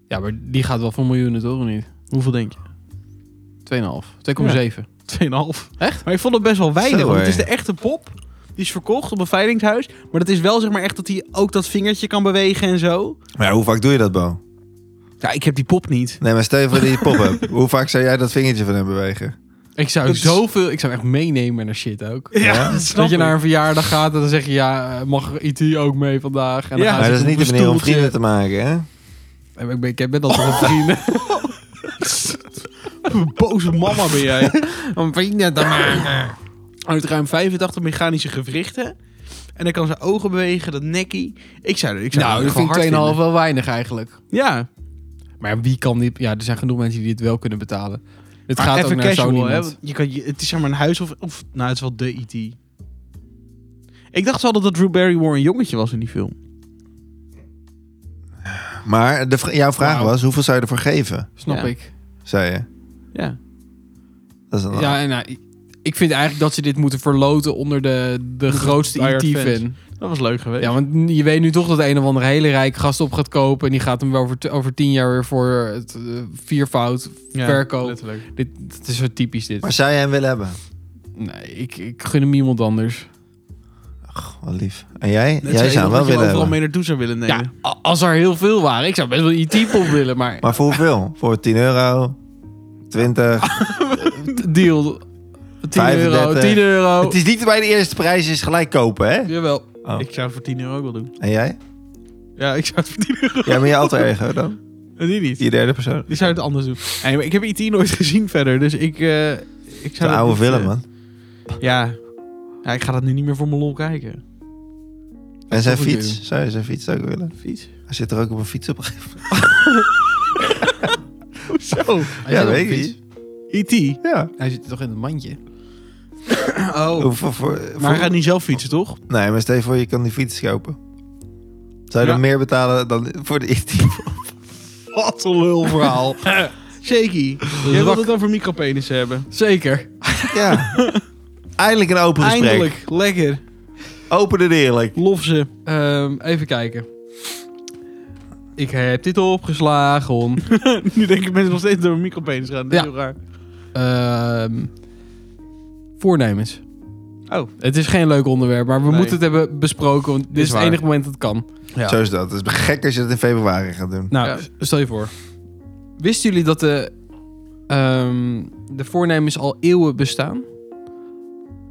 Speaker 1: Ja.
Speaker 2: maar die gaat wel voor miljoenen toch of niet? 2,5.
Speaker 1: Hoeveel denk je?
Speaker 2: 2,7.
Speaker 1: 2,5.
Speaker 2: Echt?
Speaker 1: Maar ik vond het best wel weinig.
Speaker 3: Zo,
Speaker 1: want het
Speaker 3: hé.
Speaker 1: is de echte pop. Die is verkocht op een veilingshuis. Maar dat is wel zeg maar echt dat hij ook dat vingertje kan bewegen en zo.
Speaker 3: Maar hoe vaak doe je dat, Bo?
Speaker 1: Ja, ik heb die pop niet.
Speaker 3: Nee, maar stel je voor dat je pop hebt. Hoe vaak zou jij dat vingertje van hem bewegen?
Speaker 2: Ik zou
Speaker 1: Dat is-
Speaker 2: zoveel... Ik zou hem echt meenemen naar shit ook.
Speaker 1: Ja,
Speaker 3: dat
Speaker 1: snap
Speaker 2: Dat je
Speaker 1: ik.
Speaker 2: naar een verjaardag gaat en dan zeg je... Ja, eh, mag IT ook mee vandaag? En dan
Speaker 1: Ja.
Speaker 2: gaan
Speaker 3: Maar
Speaker 2: ze
Speaker 3: dat is
Speaker 2: op
Speaker 3: niet
Speaker 2: een
Speaker 3: de manier om
Speaker 2: stoeltje.
Speaker 3: vrienden te maken, hè?
Speaker 2: En Ik ben, ik ben al toch een vrienden.
Speaker 1: Een boze mama ben jij.
Speaker 2: Om vrienden te maken.
Speaker 1: Ah. Uit ruim 85 mechanische gewrichten. En dan kan zijn ogen bewegen, dat nekkie. Ik zou, ik zou
Speaker 2: Nou,
Speaker 1: dat
Speaker 2: dat
Speaker 1: gewoon
Speaker 2: vind
Speaker 1: hard
Speaker 2: ik 2,5
Speaker 1: vinden.
Speaker 2: wel weinig eigenlijk.
Speaker 1: Ja,
Speaker 2: Maar wie kan dit... Ja, er zijn genoeg mensen die dit wel kunnen betalen. Het
Speaker 1: maar
Speaker 2: gaat
Speaker 1: even
Speaker 2: ook naar zo
Speaker 1: casual, hè.
Speaker 2: niemand.
Speaker 1: want Je kan, je, het is zeg maar een huis of, of... Nou, het is wel de IT. Ik dacht wel dat dat Drew Barrymore een jongetje was in die film.
Speaker 3: Maar de, vra- jouw vraag
Speaker 2: Wauw.
Speaker 3: was, hoeveel zou je ervoor geven?
Speaker 2: Snap
Speaker 1: Ja.
Speaker 2: ik.
Speaker 3: Zei je.
Speaker 1: Ja.
Speaker 3: Dat is een
Speaker 2: Ja, en nou, ik- ik vind eigenlijk dat ze dit moeten verloten onder de, de grootste
Speaker 1: die
Speaker 2: IT-fan.
Speaker 1: fans. Dat was leuk geweest.
Speaker 2: Ja, want je weet nu toch dat de een of andere hele rijke gast op gaat kopen. En die gaat hem wel over, t- over tien jaar weer voor het eh, viervoud.
Speaker 1: Ja,
Speaker 2: verkoop.
Speaker 1: letterlijk.
Speaker 2: Dit, het is zo typisch dit.
Speaker 3: Maar zou jij hem willen hebben?
Speaker 2: Nee, ik, ik gun hem iemand anders.
Speaker 3: Wat lief. En jij?
Speaker 1: Net zo iemand
Speaker 3: jij zou
Speaker 1: dat
Speaker 3: hem wel
Speaker 1: je
Speaker 3: willen
Speaker 1: overal
Speaker 3: hebben.
Speaker 1: mee naartoe zou willen nemen.
Speaker 2: Ja, a- als er heel veel waren. Ik zou best wel IT-pop willen, maar
Speaker 3: Maar voor hoeveel? Voor 10 euro? 20?
Speaker 2: deal. 10 euro,
Speaker 3: 35.
Speaker 2: 10 euro.
Speaker 3: Het is niet bij de eerste prijs is gelijk kopen, hè?
Speaker 2: Jawel.
Speaker 3: Oh.
Speaker 1: Ik zou het voor 10 euro ook wel doen.
Speaker 3: En jij?
Speaker 1: Ja, ik zou het voor 10 euro...
Speaker 3: Jij bent je alter ego dan?
Speaker 1: En die niet.
Speaker 3: Je derde persoon.
Speaker 1: Die zou het anders doen. Nee, maar ik heb IT nooit gezien verder, dus ik... eh, ik
Speaker 3: Zo'n
Speaker 1: zou dat
Speaker 3: oude
Speaker 1: niet,
Speaker 3: film,
Speaker 1: eh,
Speaker 3: man.
Speaker 1: Ja. ja, ik ga dat nu niet meer voor mijn lol kijken.
Speaker 3: En zijn
Speaker 2: toch een
Speaker 3: fiets. Zou je zijn fiets ook willen?
Speaker 1: Fiets.
Speaker 3: Hij zit er ook op een fiets op een gegeven
Speaker 1: Zo.
Speaker 2: Hij
Speaker 3: Ja,
Speaker 2: zit op
Speaker 3: weet
Speaker 2: een
Speaker 3: ik
Speaker 2: fiets.
Speaker 3: niet.
Speaker 1: IT.
Speaker 3: Ja.
Speaker 2: Hij zit toch in het mandje?
Speaker 1: Oh.
Speaker 3: Hoeveel voor, voor-
Speaker 1: Maar hij gaat niet zelf fietsen, toch?
Speaker 3: Nee, maar stel je voor, je kan die fiets kopen. Zou je
Speaker 1: Ja.
Speaker 3: dan meer betalen dan voor de IT?
Speaker 1: Wat een lul verhaal. Shaky. Jij wilt het dan voor micropenis hebben.
Speaker 2: Zeker.
Speaker 3: Ja. Eindelijk een open gesprek.
Speaker 1: Eindelijk. Lekker.
Speaker 3: Open en eerlijk.
Speaker 1: Lof ze.
Speaker 2: Ehm, even kijken. Ik heb dit opgeslagen.
Speaker 1: nu denken mensen nog steeds door een micropenis gaan. Dat is
Speaker 2: Ja.
Speaker 1: heel raar.
Speaker 2: Ehm, voornemens.
Speaker 1: Oh.
Speaker 2: Het is geen leuk onderwerp, maar we
Speaker 1: Nee.
Speaker 2: moeten het hebben besproken. Want dit
Speaker 1: Is
Speaker 2: is, het
Speaker 1: waar.
Speaker 2: enige moment dat het kan.
Speaker 1: Ja.
Speaker 3: Zo is dat. Het is gek als je dat in februari gaat doen.
Speaker 2: Nou,
Speaker 1: Ja.
Speaker 2: s- stel je voor. Wisten jullie dat de, ehm, de voornemens al eeuwen bestaan?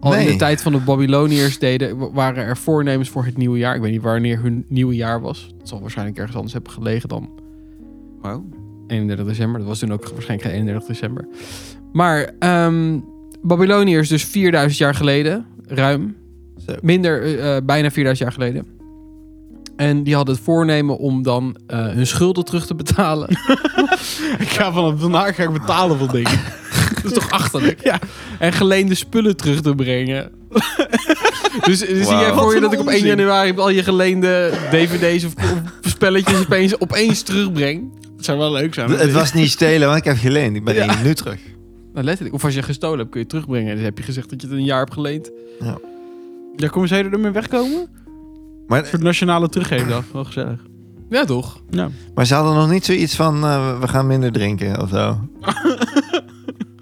Speaker 2: Al in
Speaker 3: Nee.
Speaker 2: de tijd van de Babyloniërs deden, wa- waren er voornemens voor het nieuwe jaar. Ik weet niet wanneer hun nieuwe jaar was. Dat zal waarschijnlijk ergens anders hebben gelegen dan 31 december. Dat was toen ook waarschijnlijk geen 31 december. Maar ehm, Babyloniërs dus 4000 jaar geleden, ruim.
Speaker 3: Zo.
Speaker 2: Minder, eh, eh, bijna 4000 jaar geleden. En die hadden het voornemen om dan eh, hun schulden terug te betalen.
Speaker 1: Ik ga vanaf vandaag ga ik betalen van dingen.
Speaker 2: Dat is toch achterlijk? Ja. En geleende spullen terug te brengen. dus dus zie jij
Speaker 3: Wauw.
Speaker 2: voor
Speaker 1: Wat
Speaker 2: je
Speaker 1: een
Speaker 2: dat ik op 1
Speaker 1: onzin.
Speaker 2: januari al je geleende dvd's of, of spelletjes opeens, opeens terugbreng?
Speaker 1: Het zou wel leuk zijn.
Speaker 3: Het was niet stelen, want ik heb geleend. Ik ben
Speaker 2: Ja.
Speaker 3: hier nu terug.
Speaker 2: Nou, letterlijk. Of als je gestolen hebt, kun je het terugbrengen. Dus heb je gezegd dat je het een jaar hebt geleend.
Speaker 1: Ja, komen zij er mee wegkomen?
Speaker 3: Maar,
Speaker 1: Voor de nationale teruggeefdag. Wel gezellig.
Speaker 2: Ja, toch?
Speaker 1: Ja.
Speaker 3: maar ze hadden nog niet zoiets van, eh, we gaan minder drinken of zo.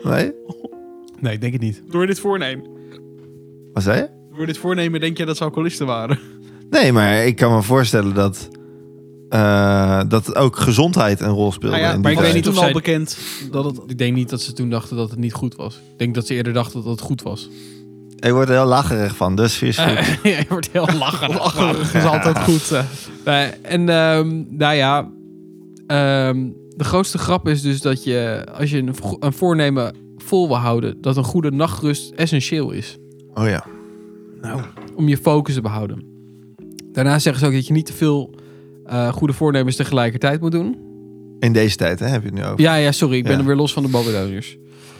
Speaker 3: Nee?
Speaker 2: Nee, ik denk het niet.
Speaker 1: Door dit voornemen.
Speaker 3: Wat zei je?
Speaker 1: Door dit voornemen denk jij dat ze alcoholisten waren.
Speaker 3: Nee, maar ik kan me voorstellen dat, eh, dat ook gezondheid een rol speelde.
Speaker 1: Nou ja,
Speaker 3: in die
Speaker 1: maar ik
Speaker 2: tijd.
Speaker 1: weet niet of
Speaker 2: Toen
Speaker 1: al
Speaker 2: zij-
Speaker 1: bekend dat het...
Speaker 2: Ik denk niet dat ze toen dachten dat het niet goed was. Ik denk dat ze eerder dachten dat het goed was.
Speaker 3: Ik word er heel lacherig van, dus is goed.
Speaker 2: Eh, je wordt heel lacherig.
Speaker 1: Dat is altijd goed. eh.
Speaker 2: Nee, en ehm, nou ja, ehm, de grootste grap is dus dat je, als je een, vo- een voornemen vol wil houden, dat een goede nachtrust essentieel is
Speaker 3: Oh ja.
Speaker 2: om je focus te behouden. Daarna zeggen ze ook dat je niet te veel eh, goede voornemens tegelijkertijd moet doen.
Speaker 3: In deze tijd hè, heb je het nu over.
Speaker 2: Ja, ja, sorry, ik ben
Speaker 3: Ja.
Speaker 2: er weer los van de Babyloniërs.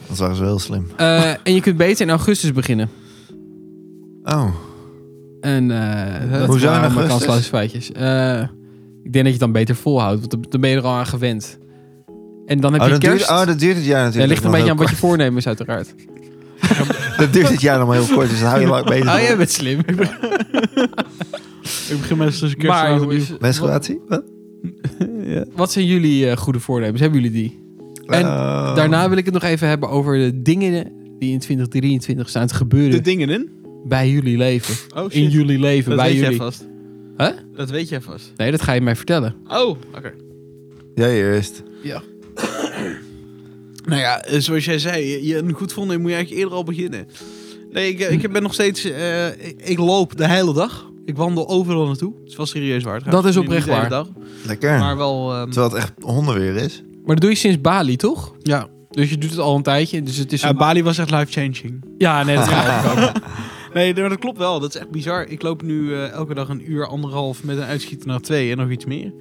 Speaker 3: Dat waren ze wel heel slim.
Speaker 2: Eh, en je kunt beter in augustus beginnen.
Speaker 3: Oh,
Speaker 2: En eh dat
Speaker 3: Hoezo in
Speaker 2: waren mijn
Speaker 3: augustus?
Speaker 2: kansloze feitjes. Eh, Ik denk dat je het dan beter volhoudt, want dan- dan ben je er al aan gewend. En dan heb
Speaker 3: Oh,
Speaker 2: je
Speaker 3: dat duurt,
Speaker 2: kerst.
Speaker 3: oh, dat duurt het jaar natuurlijk.
Speaker 2: Ja, ligt een
Speaker 3: nog
Speaker 2: beetje aan
Speaker 3: heel
Speaker 2: wat je voornemen is uiteraard.
Speaker 3: kort. Dat duurt het jaar nog maar heel kort, dus dat hou je lang bezig.
Speaker 2: Oh, jij bent slim.
Speaker 1: Ik begin met een kerst
Speaker 2: Maar jongens, wat,
Speaker 3: Menstruatie? Wat?
Speaker 2: wat zijn jullie eh, goede voornemens? Hebben jullie die? En
Speaker 3: Oh.
Speaker 2: Daarna wil ik het nog even hebben over de dingen die in 2023 staan te
Speaker 1: De
Speaker 2: gebeuren
Speaker 1: dingen in?
Speaker 2: bij jullie leven.
Speaker 1: Oh
Speaker 2: In jullie leven,
Speaker 1: Dat
Speaker 2: bij
Speaker 1: weet jij
Speaker 2: jullie.
Speaker 1: vast.
Speaker 2: Hè?
Speaker 1: Dat weet jij vast.
Speaker 2: Nee, dat ga je mij vertellen.
Speaker 1: Oh, oké.
Speaker 3: Jij eerst.
Speaker 1: Nou ja, eh, zoals jij zei, je- je een goed vonden moet je eigenlijk eerder al beginnen. Nee, ik, eh, ik ben nog steeds... eh, ik, ik loop de hele dag. Ik wandel overal naartoe. Het is wel serieus waar. trouwens.
Speaker 2: Dat is
Speaker 1: Niet-
Speaker 2: oprecht
Speaker 1: niet de hele
Speaker 2: waar.
Speaker 1: dag,
Speaker 3: Lekker.
Speaker 1: maar wel... ehm,
Speaker 3: Terwijl het echt hondenweer is.
Speaker 2: Maar dat doe je sinds Bali, toch?
Speaker 1: ja,
Speaker 2: Dus je doet het al een tijdje. Dus het is
Speaker 1: Ja,
Speaker 2: een-
Speaker 1: Bali was echt life-changing.
Speaker 2: ja nee, dat ga ik ook.
Speaker 1: Nee, maar dat klopt wel. Dat is echt bizar. Ik loop nu eh, elke dag een uur, anderhalf met een uitschieter naar twee en nog iets meer.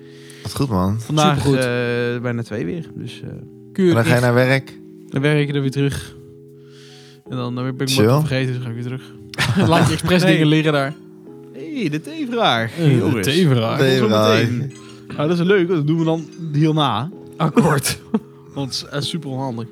Speaker 3: Wat goed, man.
Speaker 1: Vandaag
Speaker 2: Supergoed.
Speaker 1: eh, bijna twee weer. Dus eh,
Speaker 3: En
Speaker 2: Keurig.
Speaker 3: dan ga je naar werk.
Speaker 1: dan werk ik er weer terug. En dan eh, ben ik
Speaker 3: Chill.
Speaker 1: me wat vergeten, dus ga ik weer terug.
Speaker 2: Laat je expres
Speaker 1: Nee.
Speaker 2: dingen liggen daar.
Speaker 1: Hé, hey, Eh, de theevraag.
Speaker 2: Eh,
Speaker 1: Jongens.
Speaker 2: Tevraag.
Speaker 1: Tot
Speaker 3: Theevraag.
Speaker 1: zometeen. Nou, dat is leuk, want dat doen we dan hierna.
Speaker 2: Akkoord.
Speaker 1: Want het is eh, super onhandig.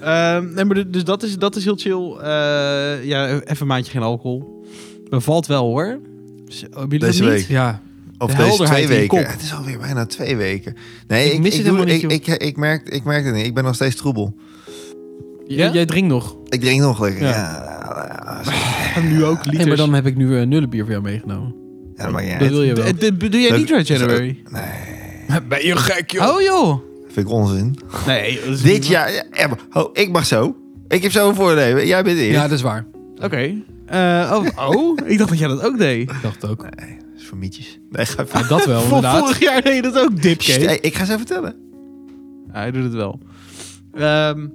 Speaker 1: Ehm, nee, maar d- dus dat is, dat is heel chill. Eh, ja, even een maandje geen alcohol. Bevalt wel hoor. Dus, eh, hebben jullie dat
Speaker 3: Deze
Speaker 1: niet?
Speaker 3: week.
Speaker 2: Ja.
Speaker 3: Of
Speaker 2: De
Speaker 3: deze
Speaker 2: helderheid
Speaker 3: twee
Speaker 2: in je
Speaker 3: weken.
Speaker 2: kop.
Speaker 3: Het is alweer bijna twee weken. Nee,
Speaker 2: Ik
Speaker 3: ik,
Speaker 2: mis het
Speaker 3: ik,
Speaker 2: helemaal
Speaker 3: doe,
Speaker 2: niet,
Speaker 3: ik, ik, ik, merk, ik merk het niet. Ik ben nog steeds troebel.
Speaker 2: J- Jij drinkt nog.
Speaker 3: Ik drink nog lekker.
Speaker 2: Ja.
Speaker 3: Ja, ja,
Speaker 1: En nu ook liters.
Speaker 2: Nee, maar dan heb ik nu eh, nullenbier voor jou meegenomen.
Speaker 3: dat maakt niet
Speaker 2: Dat
Speaker 3: uit.
Speaker 2: wil je wel.
Speaker 1: Eh, D- d- Doe jij
Speaker 3: Dat-
Speaker 1: niet Red January?
Speaker 2: Ben je gek, joh? Oh, joh.
Speaker 3: Vind ik onzin.
Speaker 1: Nee, dat is niet
Speaker 3: Dit
Speaker 1: waar.
Speaker 3: jaar... ja, Emma, ho, ik mag zo. Ik heb zo een voornemen. Jij bent eerst.
Speaker 2: Ja,
Speaker 3: Ja,
Speaker 2: dat is waar.
Speaker 1: Oké. Eh, oh, oh, ik dacht dat jij dat ook deed.
Speaker 2: Ik dacht het ook.
Speaker 3: dat is voor mietjes. Nee, ga even...
Speaker 2: Ja, dat wel,
Speaker 1: Vol-
Speaker 2: Oh, inderdaad.
Speaker 1: vorig jaar deed je dat ook,
Speaker 3: Sst,
Speaker 1: dipke.
Speaker 3: hey, ik ga ze vertellen.
Speaker 1: Ja, hij doet het wel. Ehm,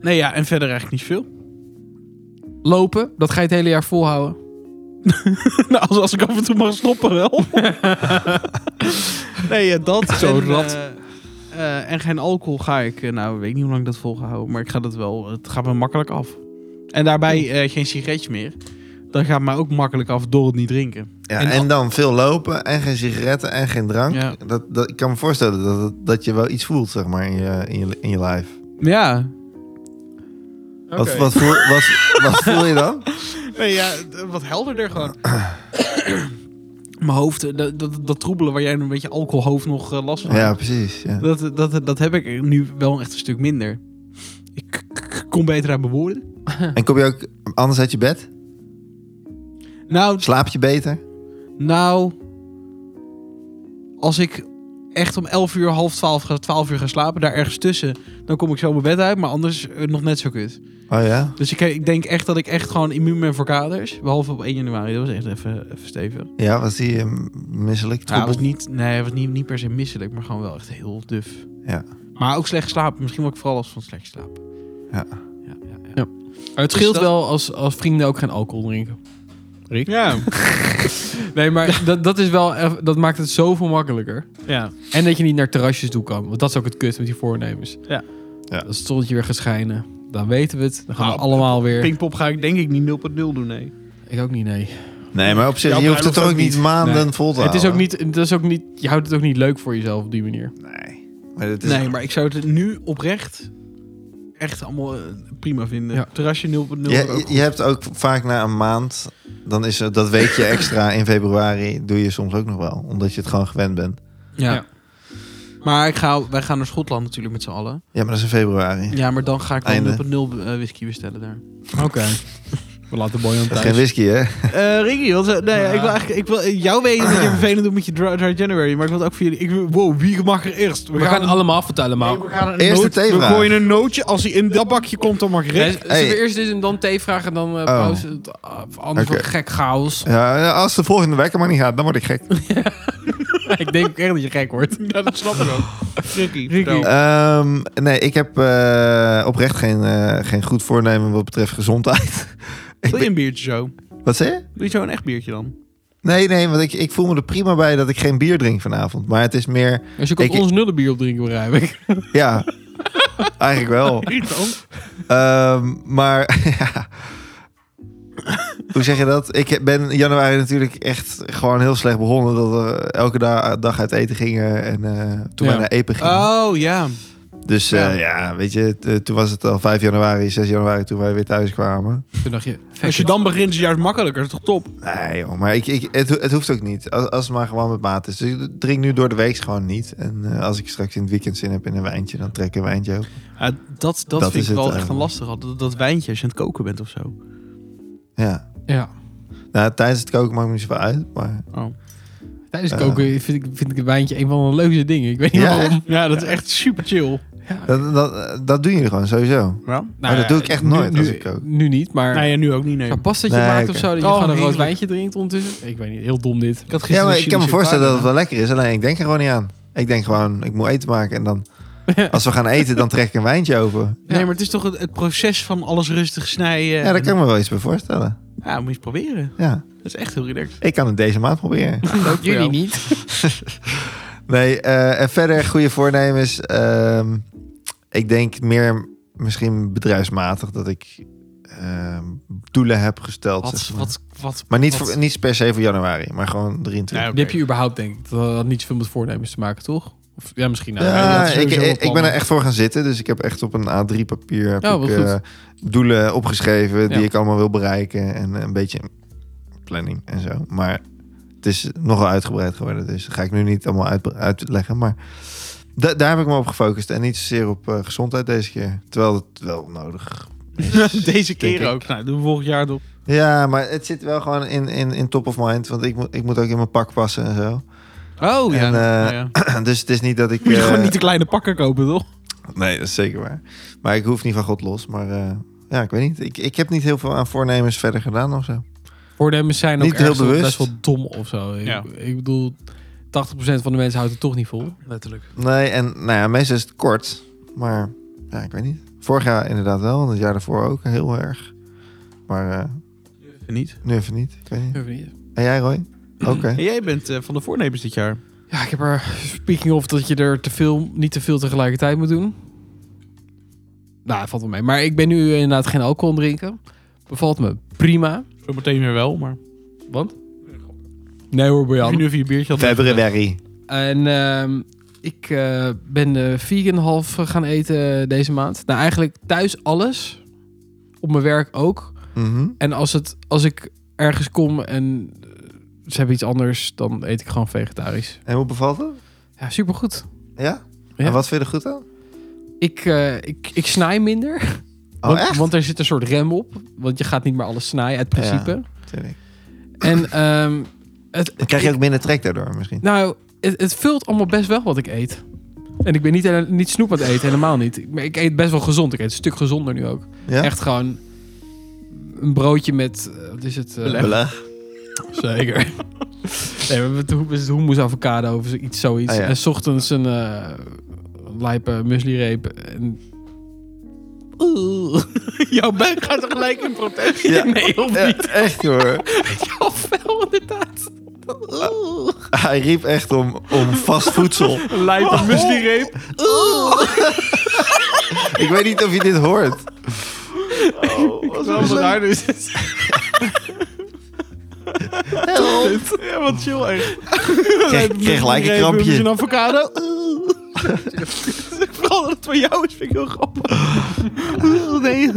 Speaker 1: nee, ja, en verder eigenlijk niet veel.
Speaker 2: Lopen, dat ga je het hele jaar volhouden.
Speaker 1: nou, als, als ik af en toe mag stoppen wel. nee, ja, dat.
Speaker 2: Zo
Speaker 1: en,
Speaker 2: rat.
Speaker 1: eh, eh, en geen alcohol ga ik, eh, nou, ik weet niet hoe lang ik dat volgehouden, maar ik ga dat wel, het gaat me makkelijk af. En daarbij eh, geen sigaretjes meer. Dat gaat mij ook makkelijk af door het niet drinken.
Speaker 3: Ja,
Speaker 1: En-
Speaker 3: en, dan veel lopen en geen sigaretten en geen drank.
Speaker 1: Ja.
Speaker 3: Dat, dat, ik kan me voorstellen dat, dat, dat je wel iets voelt, zeg maar, in je, in je, in je lijf.
Speaker 1: Ja,
Speaker 3: Wat, wat, voel, wat, wat voel je dan?
Speaker 1: Nee, ja, d- wat helderder gewoon. Mijn hoofd, eh, dat, dat, dat troebelen waar jij een beetje alcoholhoofd nog eh, last van
Speaker 3: Ja,
Speaker 1: hebt.
Speaker 3: precies. Ja.
Speaker 1: Dat, dat, dat heb ik nu wel echt een stuk minder. Ik k- k- kom beter aan mijn woorden.
Speaker 3: En kom je ook anders uit je bed?
Speaker 1: Nou,
Speaker 3: Slaap je beter?
Speaker 1: nou, als ik echt om 11 uur, half 12, ga- 12 uur ga slapen, daar ergens tussen, dan kom ik zo mijn bed uit, maar anders eh, nog net zo kut.
Speaker 3: Oh ja?
Speaker 1: Dus ik, ik denk echt dat ik echt gewoon immuun ben voor kaders. Behalve op 1 januari, dat was echt even, even stevig.
Speaker 3: Ja, was die eh, misselijk?
Speaker 1: Ja, hij
Speaker 3: troebel?
Speaker 1: was niet, nee, hij was niet, niet per se misselijk, maar gewoon wel echt heel duf.
Speaker 3: Ja.
Speaker 1: Maar ook slecht slapen. Misschien wel ik vooral als van slecht slapen.
Speaker 3: Ja.
Speaker 1: Ja, ja, ja.
Speaker 2: Het scheelt
Speaker 1: dat-
Speaker 2: wel als, als vrienden ook geen alcohol drinken.
Speaker 1: Ja.
Speaker 2: Nee, maar dat, dat, is wel, eff- dat maakt het zoveel makkelijker.
Speaker 1: ja.
Speaker 2: En dat je niet naar terrasjes toe kan. Want dat is ook het kut met die voornemens.
Speaker 1: Ja.
Speaker 3: Ja.
Speaker 2: Als het zonnetje weer gaat schijnen, dan weten we het. Dan gaan
Speaker 1: Nou,
Speaker 2: we allemaal weer.
Speaker 1: Pinkpop ga ik denk ik niet 0.0 doen, nee.
Speaker 2: Ik ook niet, nee.
Speaker 3: Nee, maar op zich,
Speaker 1: Jouw
Speaker 3: je hoeft het toch ook
Speaker 1: bruiloft ook
Speaker 3: niet maanden
Speaker 2: Nee.
Speaker 3: vol te
Speaker 2: Het is ook
Speaker 3: houden?
Speaker 2: niet, het is ook niet, je houdt het ook niet leuk voor jezelf op die manier.
Speaker 3: Nee. Maar het is...
Speaker 1: Nee, maar ik zou het nu oprecht echt allemaal eh, prima vinden.
Speaker 2: Ja.
Speaker 1: Terrasje 0.0
Speaker 3: Je,
Speaker 1: ook
Speaker 3: je- je hebt ook vaak na een maand, dan is er, dat weekje extra in februari, doe je soms ook nog wel. Omdat je het gewoon gewend bent.
Speaker 1: Ja.
Speaker 2: Ja.
Speaker 1: Maar ik ga, wij gaan naar Schotland natuurlijk met z'n allen.
Speaker 3: Ja, maar dat is in februari.
Speaker 1: Ja, maar dan ga ik
Speaker 3: Einde.
Speaker 1: wel 0.0 eh, whisky bestellen daar.
Speaker 2: Oké. we laten de boy aan
Speaker 3: Dat
Speaker 2: thuis.
Speaker 3: is geen whisky, hè?
Speaker 1: Eh Ricky, want, eh, nee,
Speaker 2: Ja.
Speaker 1: ik wil eigenlijk, ik wil, eh, jou weet dat je vervelend doet met je Dry, Dry January, maar ik wil het ook voor jullie. Ik, wil- wow, wie mag er eerst?
Speaker 2: We gaan allemaal vertellen, maar...
Speaker 1: we gaan een
Speaker 3: Eerst de
Speaker 1: noot- we
Speaker 3: theevraag.
Speaker 1: gooien een nootje. Als hij in dat bakje komt, dan mag
Speaker 2: Nee,
Speaker 1: Rick.
Speaker 2: zullen
Speaker 3: Hey. Oh.
Speaker 2: we eerst dit en dan thee vragen en dan eh, pauze? Ah, anders
Speaker 3: Oké.
Speaker 2: wordt het gek chaos.
Speaker 3: Ja, ja, als de volgende wekker maar niet gaat, dan word ik gek.
Speaker 1: Oh.
Speaker 2: ik denk ook echt dat je gek wordt.
Speaker 1: Ja, dat snap ik ook. Ricky, vertel.
Speaker 3: Ehm, nee, ik heb eh, oprecht geen, eh, geen goed voornemen wat betreft gezondheid.
Speaker 1: Wil
Speaker 3: ik
Speaker 1: je
Speaker 3: ben-
Speaker 1: een biertje zo?
Speaker 3: wat zei je?
Speaker 1: Wil je zo een echt biertje dan?
Speaker 3: Nee, nee, want ik, ik voel me er prima bij dat ik geen bier drink vanavond. Maar het is meer,
Speaker 2: Als je komt
Speaker 3: Ik-
Speaker 2: ons nullenbier opdrinken, begrijp ik.
Speaker 3: ja, eigenlijk wel.
Speaker 1: Irritant.
Speaker 3: Ehm, maar ja. Hoe zeg je dat? Ik ben in januari natuurlijk echt gewoon heel slecht begonnen. Dat we elke da- dag uit eten gingen en eh,
Speaker 2: Ja.
Speaker 3: toen wij naar Epen gingen.
Speaker 1: Oh ja.
Speaker 3: dus eh, ja, weet je, t- toen was het al 5 januari, 6 januari toen wij weer thuis kwamen.
Speaker 2: Toen dacht je,
Speaker 1: Als je dan begint is het juist makkelijker. Dat is toch top?
Speaker 3: Nee joh, maar ik, ik, het, ho- het hoeft ook niet. Als, als het maar gewoon met maat is. Dus ik drink nu door de week gewoon niet. En eh, als ik straks in het weekend zin heb in een wijntje, dan trek ik een wijntje open.
Speaker 1: Ja, dat, dat,
Speaker 3: is
Speaker 1: vind ik
Speaker 3: het eh,
Speaker 1: wel echt een
Speaker 3: eigenlijk.
Speaker 1: lastig. Dat, dat wijntje als je aan het koken bent of zo.
Speaker 3: Ja,
Speaker 2: Ja.
Speaker 3: nou, tijdens het koken maakt me niet zoveel uit. Maar
Speaker 1: Oh.
Speaker 2: Tijdens het
Speaker 3: Eh.
Speaker 2: koken vind ik, vind ik het wijntje een van de leukste dingen. Ik weet niet
Speaker 3: Ja,
Speaker 2: waarom.
Speaker 1: Ja, dat is echt super chill.
Speaker 2: Ja.
Speaker 3: dat, dat, dat doen jullie gewoon sowieso.
Speaker 1: Ja?
Speaker 3: Maar dat doe ik echt
Speaker 2: Nou nu-
Speaker 3: nooit
Speaker 2: nu,
Speaker 3: als ik kook.
Speaker 2: Nu niet, maar...
Speaker 1: Nou ja, nu ook niet, nee.
Speaker 2: Een pastaatje
Speaker 3: Nee,
Speaker 2: maakt
Speaker 3: oké.
Speaker 2: of zo, dat
Speaker 1: Oh,
Speaker 2: je gewoon een rood
Speaker 1: heerlijk.
Speaker 2: wijntje drinkt ondertussen. Ik weet niet, heel dom dit.
Speaker 1: Ik had
Speaker 3: Ja, maar ik kan me
Speaker 1: chili
Speaker 3: voorstellen dat
Speaker 1: chocolade
Speaker 3: het wel lekker is. Alleen ik denk er gewoon niet aan. Ik denk gewoon, ik moet eten maken. En dan, als we gaan eten, dan trek ik een wijntje open.
Speaker 1: gedaan. Nee, maar het is toch het, het proces van alles rustig snijden.
Speaker 3: Ja, daar kan ik me wel iets bij voorstellen.
Speaker 1: Ja, moet je eens proberen.
Speaker 3: Ja,
Speaker 1: Dat is echt heel relaxed.
Speaker 3: ik kan het deze maand proberen.
Speaker 2: Jullie niet.
Speaker 3: Nee, eh, en verder goede voornemens. ehm, ik denk meer misschien bedrijfsmatig dat ik ehm, doelen heb gesteld.
Speaker 1: Wat,
Speaker 3: zeg maar.
Speaker 1: wat, wat,
Speaker 3: maar niet,
Speaker 1: wat-
Speaker 3: voor, niet per se voor januari, maar gewoon 23.
Speaker 1: Ja,
Speaker 2: Die heb je überhaupt, denk ik. Dat had niet zoveel met voornemens te maken, toch? Of, ja, misschien. nou, weet je, dat
Speaker 3: Ja,
Speaker 2: is
Speaker 3: ik,
Speaker 2: sowieso wel
Speaker 3: ik, ik ben
Speaker 2: plannen.
Speaker 3: er echt voor gaan zitten. Dus ik heb echt op een A3-papier heb
Speaker 2: Ja, wat
Speaker 3: ik,
Speaker 2: goed.
Speaker 3: eh, doelen opgeschreven die
Speaker 2: Ja.
Speaker 3: ik allemaal wil bereiken. En eh, een beetje planning en zo. Maar het is nogal uitgebreid geworden. Dus dat ga ik nu niet allemaal uit, uitleggen. Maar da- daar heb ik me op gefocust. En niet zozeer op eh, gezondheid deze keer. Terwijl het wel nodig is.
Speaker 1: Deze
Speaker 3: denk
Speaker 1: keer
Speaker 3: ik.
Speaker 1: ook. Nou, doen we volgend jaar erop.
Speaker 3: Ja, maar het zit wel gewoon in, in, in top of mind. Want ik, moet ik moet ook in mijn pak passen en zo.
Speaker 1: Oh ja.
Speaker 3: En,
Speaker 1: nou,
Speaker 3: eh,
Speaker 1: ja.
Speaker 3: dus het is niet dat ik...
Speaker 1: Moet je
Speaker 3: eh,
Speaker 1: gewoon niet de kleine pakken kopen, toch?
Speaker 3: Nee, dat is zeker waar. Maar ik hoef niet van God los. Maar eh, ja, ik weet niet. Ik, ik heb niet heel veel aan voornemens verder gedaan of zo.
Speaker 2: Voornemens zijn ook
Speaker 3: Niet heel
Speaker 2: ergens wel
Speaker 3: bewust.
Speaker 2: best wel dom of zo. Ik,
Speaker 1: Ja.
Speaker 2: ik bedoel, 80% van de mensen houdt het toch niet vol. Letterlijk.
Speaker 3: Nee, en nou ja, meestal is het kort. Maar ja, ik weet niet. Vorig jaar inderdaad wel. En het jaar daarvoor ook heel erg. Maar eh,
Speaker 1: Niet.
Speaker 3: nu even niet. Ik weet niet.
Speaker 2: niet.
Speaker 3: En jij, Roy? Oké.
Speaker 1: En jij bent eh, van de voornemens dit jaar.
Speaker 2: Ja, ik heb er speaking of dat je er te veel, niet te veel tegelijkertijd moet doen. Nou, valt wel mee. Maar ik ben nu inderdaad geen alcohol drinken. Bevalt me prima.
Speaker 1: Zo meteen weer wel, maar...
Speaker 2: Want? Nee hoor,
Speaker 1: Als
Speaker 2: Bojan.
Speaker 1: je nu even je biertje had...
Speaker 3: February.
Speaker 2: En ehm, ik eh, ben eh, vegan half eh, gaan eten deze maand. Nou, eigenlijk thuis alles. Op mijn werk ook.
Speaker 3: Mhm.
Speaker 2: En als, het, als ik ergens kom en eh, ze hebben iets anders, dan eet ik gewoon vegetarisch.
Speaker 3: En hoe bevalt het?
Speaker 2: Ja, supergoed.
Speaker 3: Ja?
Speaker 2: Ja.
Speaker 3: En wat vind je er goed aan?
Speaker 2: Ik, eh, ik, ik snij minder.
Speaker 3: Oh,
Speaker 2: want,
Speaker 3: echt?
Speaker 2: want er zit een soort rem op. Want je gaat niet meer alles snijden, uit
Speaker 3: Ja.
Speaker 2: principe.
Speaker 3: Tuurlijk.
Speaker 2: En ehm, het,
Speaker 3: Dan krijg je ook minder trek daardoor misschien.
Speaker 2: Nou, het, het vult allemaal best wel wat ik eet. En ik ben niet, hele- niet snoep aan het eten, helemaal niet. Ik- Maar ik eet best wel gezond. Ik eet een stuk gezonder nu ook.
Speaker 3: Ja?
Speaker 2: Echt gewoon een broodje met, eh, wat is het? eh,
Speaker 1: Beleg.
Speaker 3: Beleg.
Speaker 2: Zeker. nee, we hebben het hoe- is het hummus avocado of iets zoiets.
Speaker 3: Ah, ja.
Speaker 2: En 's ochtends een eh lijpe mueslireep. En...
Speaker 1: Jouw buik gaat er gelijk in protest.
Speaker 3: Ja.
Speaker 2: Nee, of
Speaker 3: Ja,
Speaker 2: niet?
Speaker 3: echt hoor.
Speaker 2: Ja, wel inderdaad.
Speaker 3: Hij riep echt om, om vast voedsel.
Speaker 1: Lijp een musli-reep.
Speaker 3: Ik weet niet of je dit hoort.
Speaker 1: Wat daar dus is.
Speaker 3: Help.
Speaker 1: Ja, wat chill echt.
Speaker 3: Kreeg, kreeg gelijk een
Speaker 1: Een
Speaker 3: krampje.
Speaker 1: avocado. Vooral Oh, dat het van jou is, vind ik heel grappig. nee.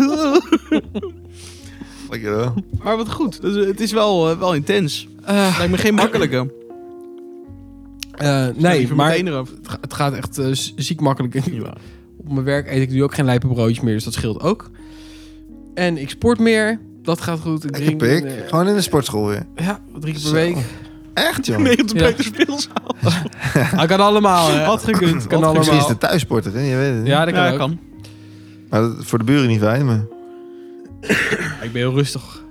Speaker 3: Dankjewel.
Speaker 1: Maar wat goed. Dus, eh, het is wel, eh, wel intens.
Speaker 3: Ah.
Speaker 1: Lijkt me geen makkelijke.
Speaker 2: Eh, nee, maar
Speaker 1: Meteen
Speaker 2: het,
Speaker 1: eraf.
Speaker 2: ga- het gaat echt eh, z- ziek makkelijk.
Speaker 1: Ja.
Speaker 2: Op mijn werk eet ik nu ook geen lijpe broodjes meer, dus dat scheelt ook. En ik sport meer, dat gaat goed. Ik
Speaker 3: Lekker
Speaker 2: drink
Speaker 3: pik.
Speaker 2: eh,
Speaker 3: Gewoon in de sportschool weer.
Speaker 2: ja, drie keer per
Speaker 3: Zo.
Speaker 2: week.
Speaker 3: Echt, jongen.
Speaker 1: Nee, op de
Speaker 2: Ja.
Speaker 1: Peter Speelzaal.
Speaker 2: Ah, kan allemaal. hè.
Speaker 1: Had gekund. had
Speaker 2: Kan allemaal.
Speaker 3: Misschien is de thuissporter, hè? Je weet het niet.
Speaker 2: Ja, dat kan
Speaker 1: Ja,
Speaker 2: ook.
Speaker 1: kan.
Speaker 3: Maar dat is voor de buren niet fijn, maar...
Speaker 2: Ik ben heel rustig.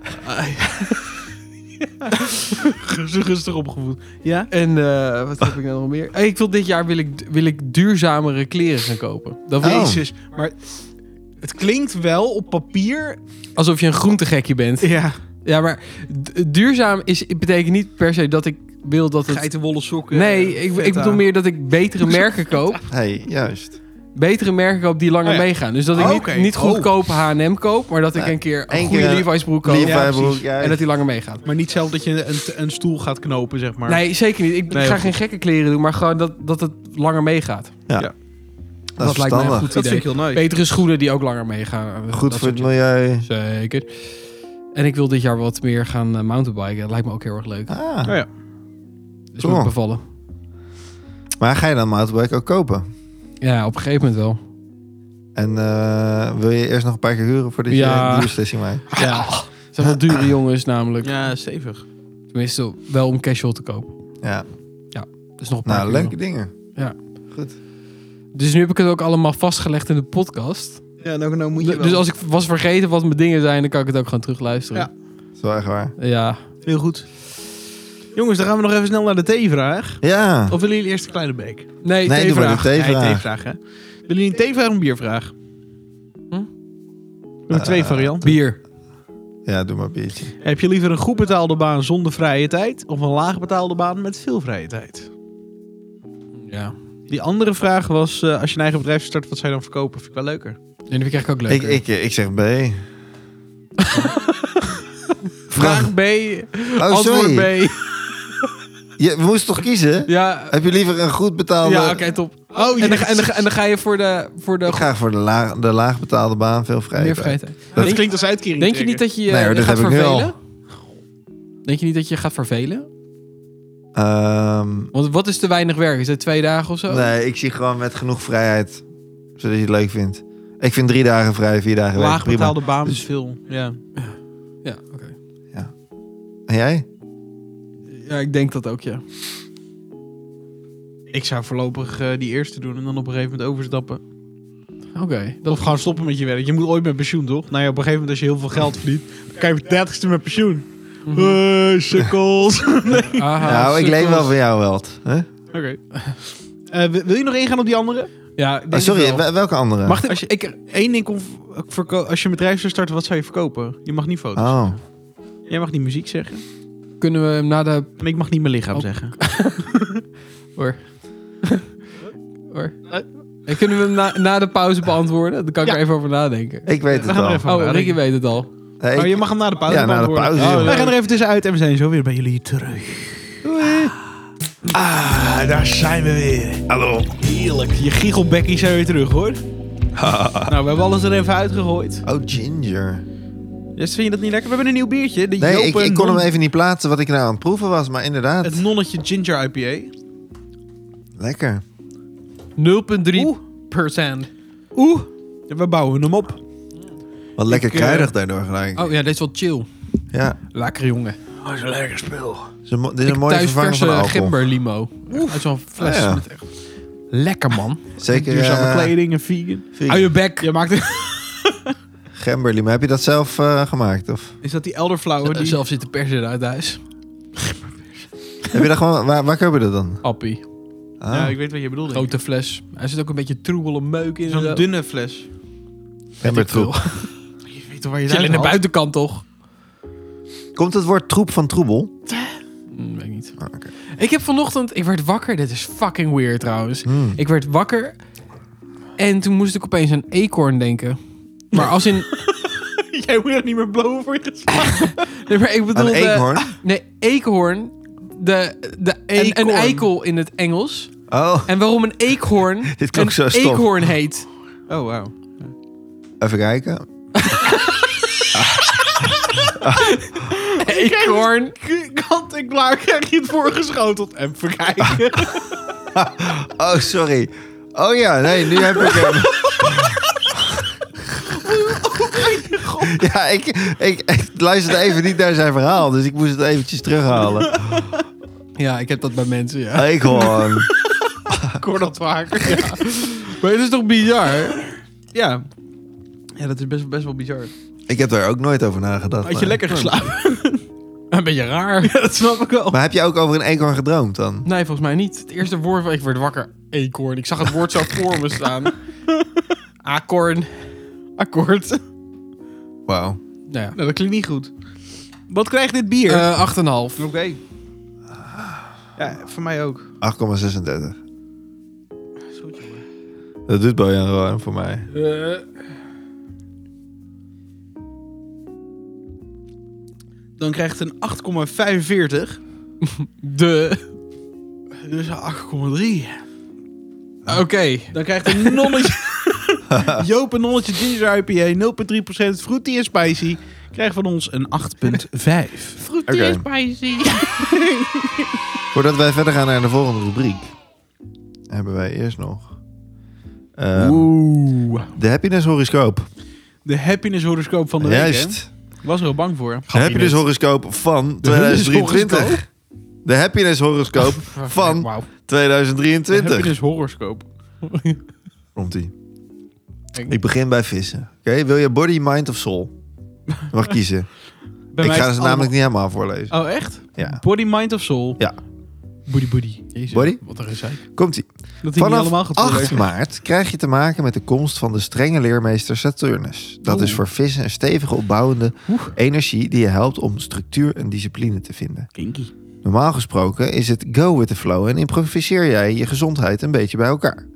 Speaker 1: Rustig, rustig opgevoed. Ja?
Speaker 2: En eh, wat heb ik nou nog meer? Eh, Ik wil dit jaar wil ik, wil ik duurzamere kleren gaan kopen. Dat wil-
Speaker 3: Oh.
Speaker 1: Jezus. Maar het klinkt wel op papier.
Speaker 2: Alsof je een groentegekje bent.
Speaker 1: Ja.
Speaker 2: Ja, maar d- duurzaam is, het betekent niet per se dat ik wil dat het...
Speaker 1: Geitenwolle sokken.
Speaker 2: Nee,
Speaker 1: eh,
Speaker 2: ik, ik
Speaker 1: feta.
Speaker 2: bedoel meer dat ik betere merken koop.
Speaker 3: Hey, juist.
Speaker 2: betere merken koop die langer
Speaker 1: Oh ja.
Speaker 2: meegaan. Dus dat ik
Speaker 1: Oh,
Speaker 2: niet,
Speaker 1: oké.
Speaker 2: niet
Speaker 1: Oh.
Speaker 2: goedkoop H&M koop, maar dat ik
Speaker 3: Ja,
Speaker 2: een keer een
Speaker 3: één
Speaker 2: goede
Speaker 3: keer-
Speaker 2: Levi's broek koop.
Speaker 3: Levi
Speaker 1: Ja,
Speaker 3: broek,
Speaker 1: precies.
Speaker 3: ja,
Speaker 2: en dat die langer meegaat.
Speaker 1: Maar niet zelf dat je een, een stoel gaat knopen, zeg maar.
Speaker 2: Nee, zeker niet. Ik
Speaker 1: Nee,
Speaker 2: ga
Speaker 1: heel
Speaker 2: geen gekke kleren doen, maar gewoon dat, dat het langer meegaat.
Speaker 3: dat is
Speaker 2: dat lijkt mij
Speaker 3: verstandig.
Speaker 2: goed.
Speaker 1: dat vind ik heel nice.
Speaker 2: Betere schoenen die ook langer meegaan. Dat
Speaker 3: Goed
Speaker 2: soort
Speaker 3: voor het
Speaker 2: dingen.
Speaker 3: milieu.
Speaker 2: Zeker. En ik wil dit jaar wat meer gaan eh, mountainbiken. Dat lijkt me ook heel erg leuk.
Speaker 3: Ah.
Speaker 1: Oh ja.
Speaker 2: Dus
Speaker 3: cool.
Speaker 2: moet bevallen.
Speaker 3: Maar ga je dan mountainbike ook kopen?
Speaker 2: Ja, op een gegeven moment wel.
Speaker 3: En eh, wil je eerst nog een paar keer huren voordat je
Speaker 2: Ja.
Speaker 3: die beslissing maakt?
Speaker 2: Ja.
Speaker 3: Ah.
Speaker 2: Het zijn wel dure jongens namelijk.
Speaker 1: Ja, stevig.
Speaker 2: Tenminste, wel om casual te kopen.
Speaker 3: Ja,
Speaker 2: Dus nog een paar
Speaker 3: nou,
Speaker 2: keer
Speaker 3: leuke dingen.
Speaker 2: nog. Dus nu heb ik het ook allemaal vastgelegd in de podcast.
Speaker 1: Ja, nou, nou moet je wel.
Speaker 2: Dus als ik was vergeten wat mijn dingen zijn, dan kan ik het ook gewoon terugluisteren.
Speaker 3: Dat is wel echt waar.
Speaker 2: Ja. ja.
Speaker 1: Heel goed. Jongens, dan gaan we nog even snel naar de T-vraag.
Speaker 3: Ja,
Speaker 1: Of willen jullie eerst een kleine beek?
Speaker 2: Nee,
Speaker 3: nee, doe maar
Speaker 2: theevraag.
Speaker 3: de
Speaker 1: Nee,
Speaker 3: T-vraag.
Speaker 1: T-vraag, hè? Willen jullie een T-vraag of een biervraag?
Speaker 2: Hm?
Speaker 1: We hebben twee
Speaker 3: Eh,
Speaker 1: varianten.
Speaker 2: Bier.
Speaker 3: Ja, doe maar een biertje.
Speaker 1: Heb je liever een goed betaalde baan zonder vrije tijd... of een laag betaalde baan met veel vrije tijd?
Speaker 2: Ja.
Speaker 1: Die andere vraag was... eh, als je een eigen bedrijf start, wat zou je dan verkopen? Vind ik wel leuker.
Speaker 2: En die vind ik eigenlijk ook leuk.
Speaker 3: Ik, ik, ik zeg B.
Speaker 2: Vraag B,
Speaker 3: Oh,
Speaker 2: antwoord
Speaker 3: sorry.
Speaker 2: B.
Speaker 3: Je, we moesten toch kiezen?
Speaker 2: Ja,
Speaker 3: Heb je liever een goed betaalde...
Speaker 2: ja oké, top.
Speaker 1: Oh,
Speaker 2: en, dan, en, dan, en dan ga je voor de, voor de
Speaker 3: Ik ga voor de, laag, de laag betaalde baan, veel vrijheid.
Speaker 2: meer vrijheid.
Speaker 1: dat
Speaker 2: denk-
Speaker 1: klinkt als uitkering.
Speaker 2: Denk je niet dat je je
Speaker 3: Nee hoor, dat
Speaker 2: gaat
Speaker 3: heb ik nu al.
Speaker 2: vervelen? Denk je niet dat je gaat vervelen?
Speaker 3: Ehm,
Speaker 2: Want wat is te weinig werk? Is dat twee dagen of zo?
Speaker 3: nee, ik zie gewoon met genoeg vrijheid, zodat je het leuk vindt. Ik vind drie dagen vrij, vier dagen werk,
Speaker 1: Laag
Speaker 3: prima.
Speaker 1: betaalde baan met
Speaker 3: Dus-
Speaker 1: veel. Ja.
Speaker 2: Ja, oké.
Speaker 3: En jij?
Speaker 2: Ja, ik denk dat ook, ja.
Speaker 1: Ik zou voorlopig eh, die eerste doen en dan op een gegeven moment overstappen.
Speaker 2: Oké. Dat...
Speaker 1: Of gewoon stoppen met je werk. Je moet ooit met pensioen, toch? Nou ja, op een gegeven moment als je heel veel geld verdient... dan kan je op je dertigste met pensioen. Hey, sukkels.
Speaker 2: Aha,
Speaker 3: nou, ik leen
Speaker 2: sukkels.
Speaker 3: wel van jou, Welt. Huh?
Speaker 1: Oké. Eh, wil wil je nog ingaan op die andere?
Speaker 2: Ja, ik denk
Speaker 3: Oh, sorry,
Speaker 2: het wel.
Speaker 3: wel- welke andere?
Speaker 2: Mag dit-
Speaker 1: Als je-
Speaker 2: ik,
Speaker 1: Eén ding, kon v- verko- als je een bedrijf zou starten, wat zou je verkopen? Je mag niet foto's.
Speaker 3: Oh,
Speaker 1: Jij mag niet muziek zeggen.
Speaker 2: kunnen we hem na de...
Speaker 1: En ik mag niet mijn lichaam
Speaker 2: Oh.
Speaker 1: zeggen.
Speaker 2: Hoor. Eh, Kunnen we hem na, na de pauze beantwoorden? Dan kan ik
Speaker 1: Ja.
Speaker 2: er even over nadenken.
Speaker 3: ik weet
Speaker 1: We
Speaker 3: het
Speaker 1: gaan
Speaker 3: al.
Speaker 1: er even over
Speaker 2: Oh,
Speaker 1: nadenken.
Speaker 2: Ricky weet het al.
Speaker 3: Hey,
Speaker 1: Oh, je mag hem na de pauze
Speaker 3: Ja, na de
Speaker 1: beantwoorden.
Speaker 3: pauze,
Speaker 1: Oh,
Speaker 3: ja.
Speaker 1: wij gaan er even tussenuit en we zijn zo weer bij jullie terug. Ah, daar zijn we weer.
Speaker 3: Hallo.
Speaker 1: Heerlijk. Je giechelbekkie zijn weer terug, hoor. nou, we hebben alles er even uitgegooid.
Speaker 3: Oh, Ginger.
Speaker 1: Dus vind je dat niet lekker? We hebben een nieuw biertje. De
Speaker 3: Nee, ik,
Speaker 1: Jopen
Speaker 3: ik kon hem
Speaker 1: Non-
Speaker 3: even niet plaatsen wat ik nou aan het proeven was, maar inderdaad.
Speaker 1: Het nonnetje Ginger IPA.
Speaker 3: Lekker.
Speaker 2: 0,3 procent.
Speaker 1: Oeh, we bouwen hem op.
Speaker 3: Wat lekker
Speaker 1: Ik, eh,
Speaker 3: kruidig daardoor gelijk.
Speaker 2: Oh ja, dit is wel chill.
Speaker 3: Ja,
Speaker 2: Lekker jongen.
Speaker 1: Oh, is een lekker spul.
Speaker 3: dit is een, mo- dit is
Speaker 2: Ik
Speaker 3: een mooie
Speaker 2: thuis
Speaker 3: vervanger van
Speaker 2: verse
Speaker 3: alcohol.
Speaker 2: gemberlimo. Uit zo'n fles.
Speaker 3: Ah, ja.
Speaker 2: met echt... Lekker man.
Speaker 3: Zeker.
Speaker 1: Duurzame
Speaker 3: eh,
Speaker 1: kleding en vegan.
Speaker 3: vegan.
Speaker 2: Hou Ah, je bek.
Speaker 1: Je maakt
Speaker 3: Gemberly, maar heb je dat zelf eh, gemaakt? Of
Speaker 1: Is dat die elderflower? Die...
Speaker 2: Zelf zit de pers eruit thuis.
Speaker 3: heb je dat gewoon, waar, waar koop je dat dan?
Speaker 2: Appie.
Speaker 3: Ah,
Speaker 1: Ja, ik weet wat je bedoelt. denk ik.
Speaker 2: Grote fles. Hij zit ook een beetje troebele meuk in.
Speaker 1: Zo'n dunne fles.
Speaker 3: gembertroep.
Speaker 1: Je weet toch waar je
Speaker 2: Chill in de buitenkant toch?
Speaker 3: Komt het woord troep van troebel?
Speaker 2: Hm, weet ik niet.
Speaker 3: Ah, oké.
Speaker 2: Ik heb vanochtend... Ik werd wakker. Dit is fucking weird trouwens.
Speaker 3: Hmm.
Speaker 2: Ik werd wakker. En toen moest ik opeens aan eekhoorn denken. Maar als in...
Speaker 1: Jij moet er niet meer blowen voor je geslacht.
Speaker 2: Nee, maar ik bedoel... eh,
Speaker 3: Aan een
Speaker 2: de-
Speaker 3: eekhoorn?
Speaker 2: Nee, eekhoorn. De, de, een,
Speaker 1: Eekhoorn.
Speaker 2: een eikel in het Engels.
Speaker 3: Oh,
Speaker 2: En waarom een eekhoorn
Speaker 3: Dit klonk
Speaker 2: een
Speaker 3: zo stom.
Speaker 2: eekhoorn heet.
Speaker 1: Oh, wauw.
Speaker 3: even kijken.
Speaker 2: Eekhoorn.
Speaker 1: Kant en klaar krijg je het voorgeschoteld. En
Speaker 2: Ah,
Speaker 1: verkijken.
Speaker 3: Oh, sorry. Oh ja, nee, nu heb ik hem. Ja, ik, ik, ik luisterde even niet naar zijn verhaal, dus ik moest het eventjes terughalen.
Speaker 2: Ja, ik heb dat bij mensen, ja.
Speaker 3: Ik gewoon.
Speaker 1: Ik hoor dat vaker. Ja.
Speaker 2: Maar het is toch bizar?
Speaker 1: ja. dat is best, best wel bizar.
Speaker 3: Ik heb daar ook nooit over nagedacht.
Speaker 1: Had je
Speaker 3: maar-
Speaker 1: lekker
Speaker 2: Hm.
Speaker 1: geslapen?
Speaker 2: Een beetje raar.
Speaker 1: dat snap ik wel.
Speaker 3: Maar heb je ook over een eekhoorn gedroomd dan?
Speaker 2: Nee, volgens mij niet. Het eerste woord, ik werd wakker. Eekhoorn. Ik zag het woord zo voor me staan. Akorn.
Speaker 1: Akkoord. Nou,
Speaker 3: Wauw.
Speaker 2: Nou ja.
Speaker 1: dat klinkt niet goed. Wat krijgt dit bier?
Speaker 2: Eh, Acht en een half.
Speaker 1: Oké. Ja, voor mij ook.
Speaker 3: 8,36.
Speaker 1: Is goed, jongen.
Speaker 3: Dat Dat doet Bojan gewoon voor mij.
Speaker 1: Dan krijgt het een 8,45.
Speaker 2: De.
Speaker 1: Dus een 8,3.
Speaker 2: Oké.
Speaker 1: Dan krijgt een nonnetje... Joop een nonnetje ginger IPA, 0,3% fruity en spicy. Krijgt van ons een 8,5.
Speaker 2: Fruity
Speaker 3: Oké.
Speaker 2: spicy.
Speaker 3: Voordat wij verder gaan naar de volgende rubriek, hebben wij eerst nog ehm,
Speaker 2: Oeh.
Speaker 3: de happiness horoscoop.
Speaker 1: De happiness horoscoop van de week.
Speaker 3: Juist.
Speaker 1: hè? Ik was er al bang voor.
Speaker 3: De happiness horoscoop van 2023. De happiness horoscoop Van-
Speaker 2: Wauw.
Speaker 1: De
Speaker 3: 2023.
Speaker 1: happiness horoscoop.
Speaker 3: Komt ie. Ik begin bij vissen. Oké, wil je body, mind of soul? Je mag kiezen.
Speaker 1: Bij
Speaker 3: Ik
Speaker 1: mij
Speaker 3: ga
Speaker 1: is
Speaker 3: ze
Speaker 1: het
Speaker 3: namelijk niet helemaal voorlezen.
Speaker 1: allemaal- Oh, echt?
Speaker 3: Ja.
Speaker 1: Body, mind of soul?
Speaker 2: Booty booty. Jezus,
Speaker 3: Body?
Speaker 2: Wat een gezeik.
Speaker 3: Komt ie.
Speaker 1: Dat hij niet allemaal
Speaker 3: Vanaf
Speaker 1: gaat
Speaker 3: 8
Speaker 1: voorlezen.
Speaker 3: maart krijg je te maken met de komst van de strenge leermeester Saturnus. Dat is
Speaker 1: Oeh.
Speaker 3: voor vissen een stevige opbouwende
Speaker 1: Oeh.
Speaker 3: energie die je helpt om structuur en discipline te vinden.
Speaker 1: Kinky.
Speaker 3: Normaal gesproken is het go with the flow en improviseer jij je gezondheid een beetje bij elkaar.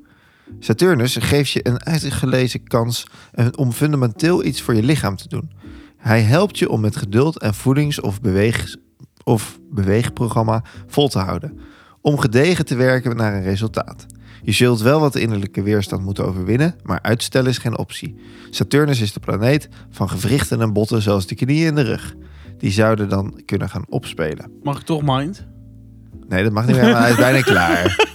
Speaker 3: Saturnus geeft je een uitgelezen kans eh, om fundamenteel iets voor je lichaam te doen. Hij helpt je om met geduld en voedings- of, beweeg- of beweegprogramma vol te houden. Om gedegen te werken naar een resultaat. Je zult wel wat innerlijke weerstand moeten overwinnen, maar uitstellen is geen optie. Saturnus is de planeet van gewrichten en botten zoals de knieën en de rug. Die zouden dan kunnen gaan opspelen.
Speaker 1: Mag ik toch mind?
Speaker 3: Nee, dat mag niet meer, maar hij is bijna klaar.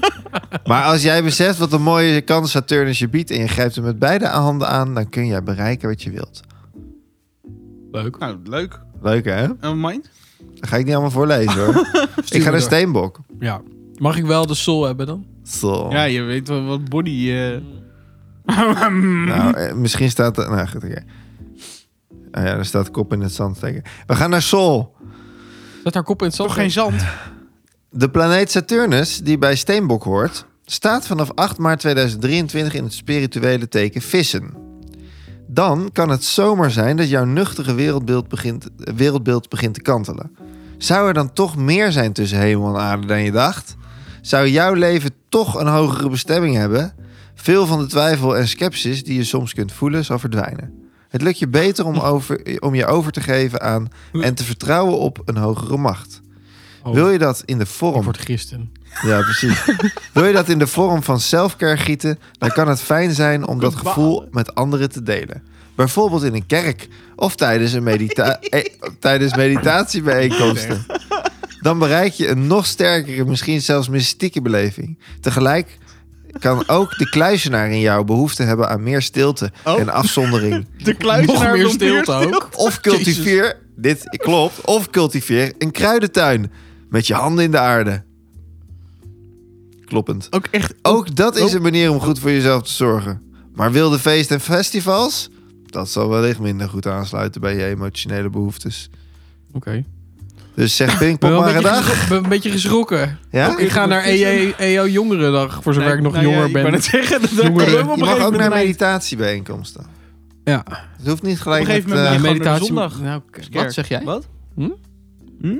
Speaker 3: Maar als jij beseft wat een mooie kans Saturnus je biedt... en je grijpt hem met beide handen aan... dan kun jij bereiken wat je wilt.
Speaker 2: Leuk.
Speaker 1: Nou, leuk.
Speaker 3: Leuk, hè? Dat
Speaker 1: En mind?
Speaker 3: ga ik niet allemaal voorlezen, hoor. ik ga
Speaker 2: door.
Speaker 3: naar Steenbok.
Speaker 2: Ja. Mag ik wel de soul hebben dan?
Speaker 3: Zo.
Speaker 1: Ja, je weet wel wat body... eh,
Speaker 3: Nou, eh, misschien staat er... Nou, goed, oké. Oh ja, er staat kop in het zand steken. We gaan naar Sol.
Speaker 2: Zet haar kop in het zand.
Speaker 1: Toch geen zand?
Speaker 3: De planeet Saturnus, die bij Steenbok hoort, staat vanaf 8 maart 2023 in het spirituele teken vissen. Dan kan het zomaar zijn dat jouw nuchtere wereldbeeld begint, eh, wereldbeeld begint te kantelen. Zou er dan toch meer zijn tussen hemel en aarde dan je dacht? Zou jouw leven toch een hogere bestemming hebben? Veel van de twijfel en scepsis die je soms kunt voelen, zal verdwijnen. Het lukt je beter om, over, om je over te geven aan en te vertrouwen op een hogere macht.
Speaker 2: Oh,
Speaker 3: Wil je dat in de
Speaker 2: Ik
Speaker 3: vorm
Speaker 2: word christen.
Speaker 3: ja, precies. Wil je dat in de vorm van selfcare gieten, dan kan het fijn zijn om dat gevoel met anderen te delen. Bijvoorbeeld in een kerk of tijdens, een medita eh, tijdens meditatiebijeenkomsten. Dan bereik je een nog sterkere, misschien zelfs mystieke beleving. Tegelijk kan ook de kluizenaar in jou behoefte hebben aan meer stilte
Speaker 1: Oh.
Speaker 3: en afzondering.
Speaker 1: De kluizenaar
Speaker 2: Nog meer
Speaker 1: van
Speaker 2: stilte
Speaker 1: Beerstilte.
Speaker 2: ook.
Speaker 3: Of cultiveer, dit klopt, of cultiveer een kruidentuin met je handen in de aarde. Kloppend.
Speaker 1: Ook echt...
Speaker 3: Ook dat is een manier om goed voor jezelf te zorgen. Maar wilde feesten en festivals? Dat zal wellicht minder goed aansluiten bij je emotionele behoeftes.
Speaker 2: Oké.
Speaker 3: Dus zeg
Speaker 2: Ik ben
Speaker 3: Pinkpop
Speaker 2: wel
Speaker 3: maar
Speaker 2: een beetje,
Speaker 3: gedag.
Speaker 2: geschro- ben een beetje geschrokken.
Speaker 3: Ja?
Speaker 2: Ik ga naar E EJ EO Jongerendag, voor zover ik nog jonger
Speaker 1: ben.
Speaker 2: ben.
Speaker 1: Nou Ik het zeggen, dat
Speaker 2: Jongeren.
Speaker 1: komt ook op
Speaker 3: Je
Speaker 1: een
Speaker 3: mag
Speaker 1: gegeven
Speaker 3: ook naar
Speaker 1: moment.
Speaker 3: meditatiebijeenkomsten.
Speaker 2: Ja.
Speaker 3: Het hoeft niet gelijk
Speaker 1: Op een gegeven
Speaker 3: met,
Speaker 1: moment
Speaker 3: eh,
Speaker 1: naar
Speaker 2: Ja,
Speaker 1: gewoon naar de zondag.
Speaker 2: Nou, oké.
Speaker 1: Kerk.
Speaker 2: Wat zeg jij?
Speaker 1: Wat?
Speaker 2: Hm?
Speaker 1: Hm?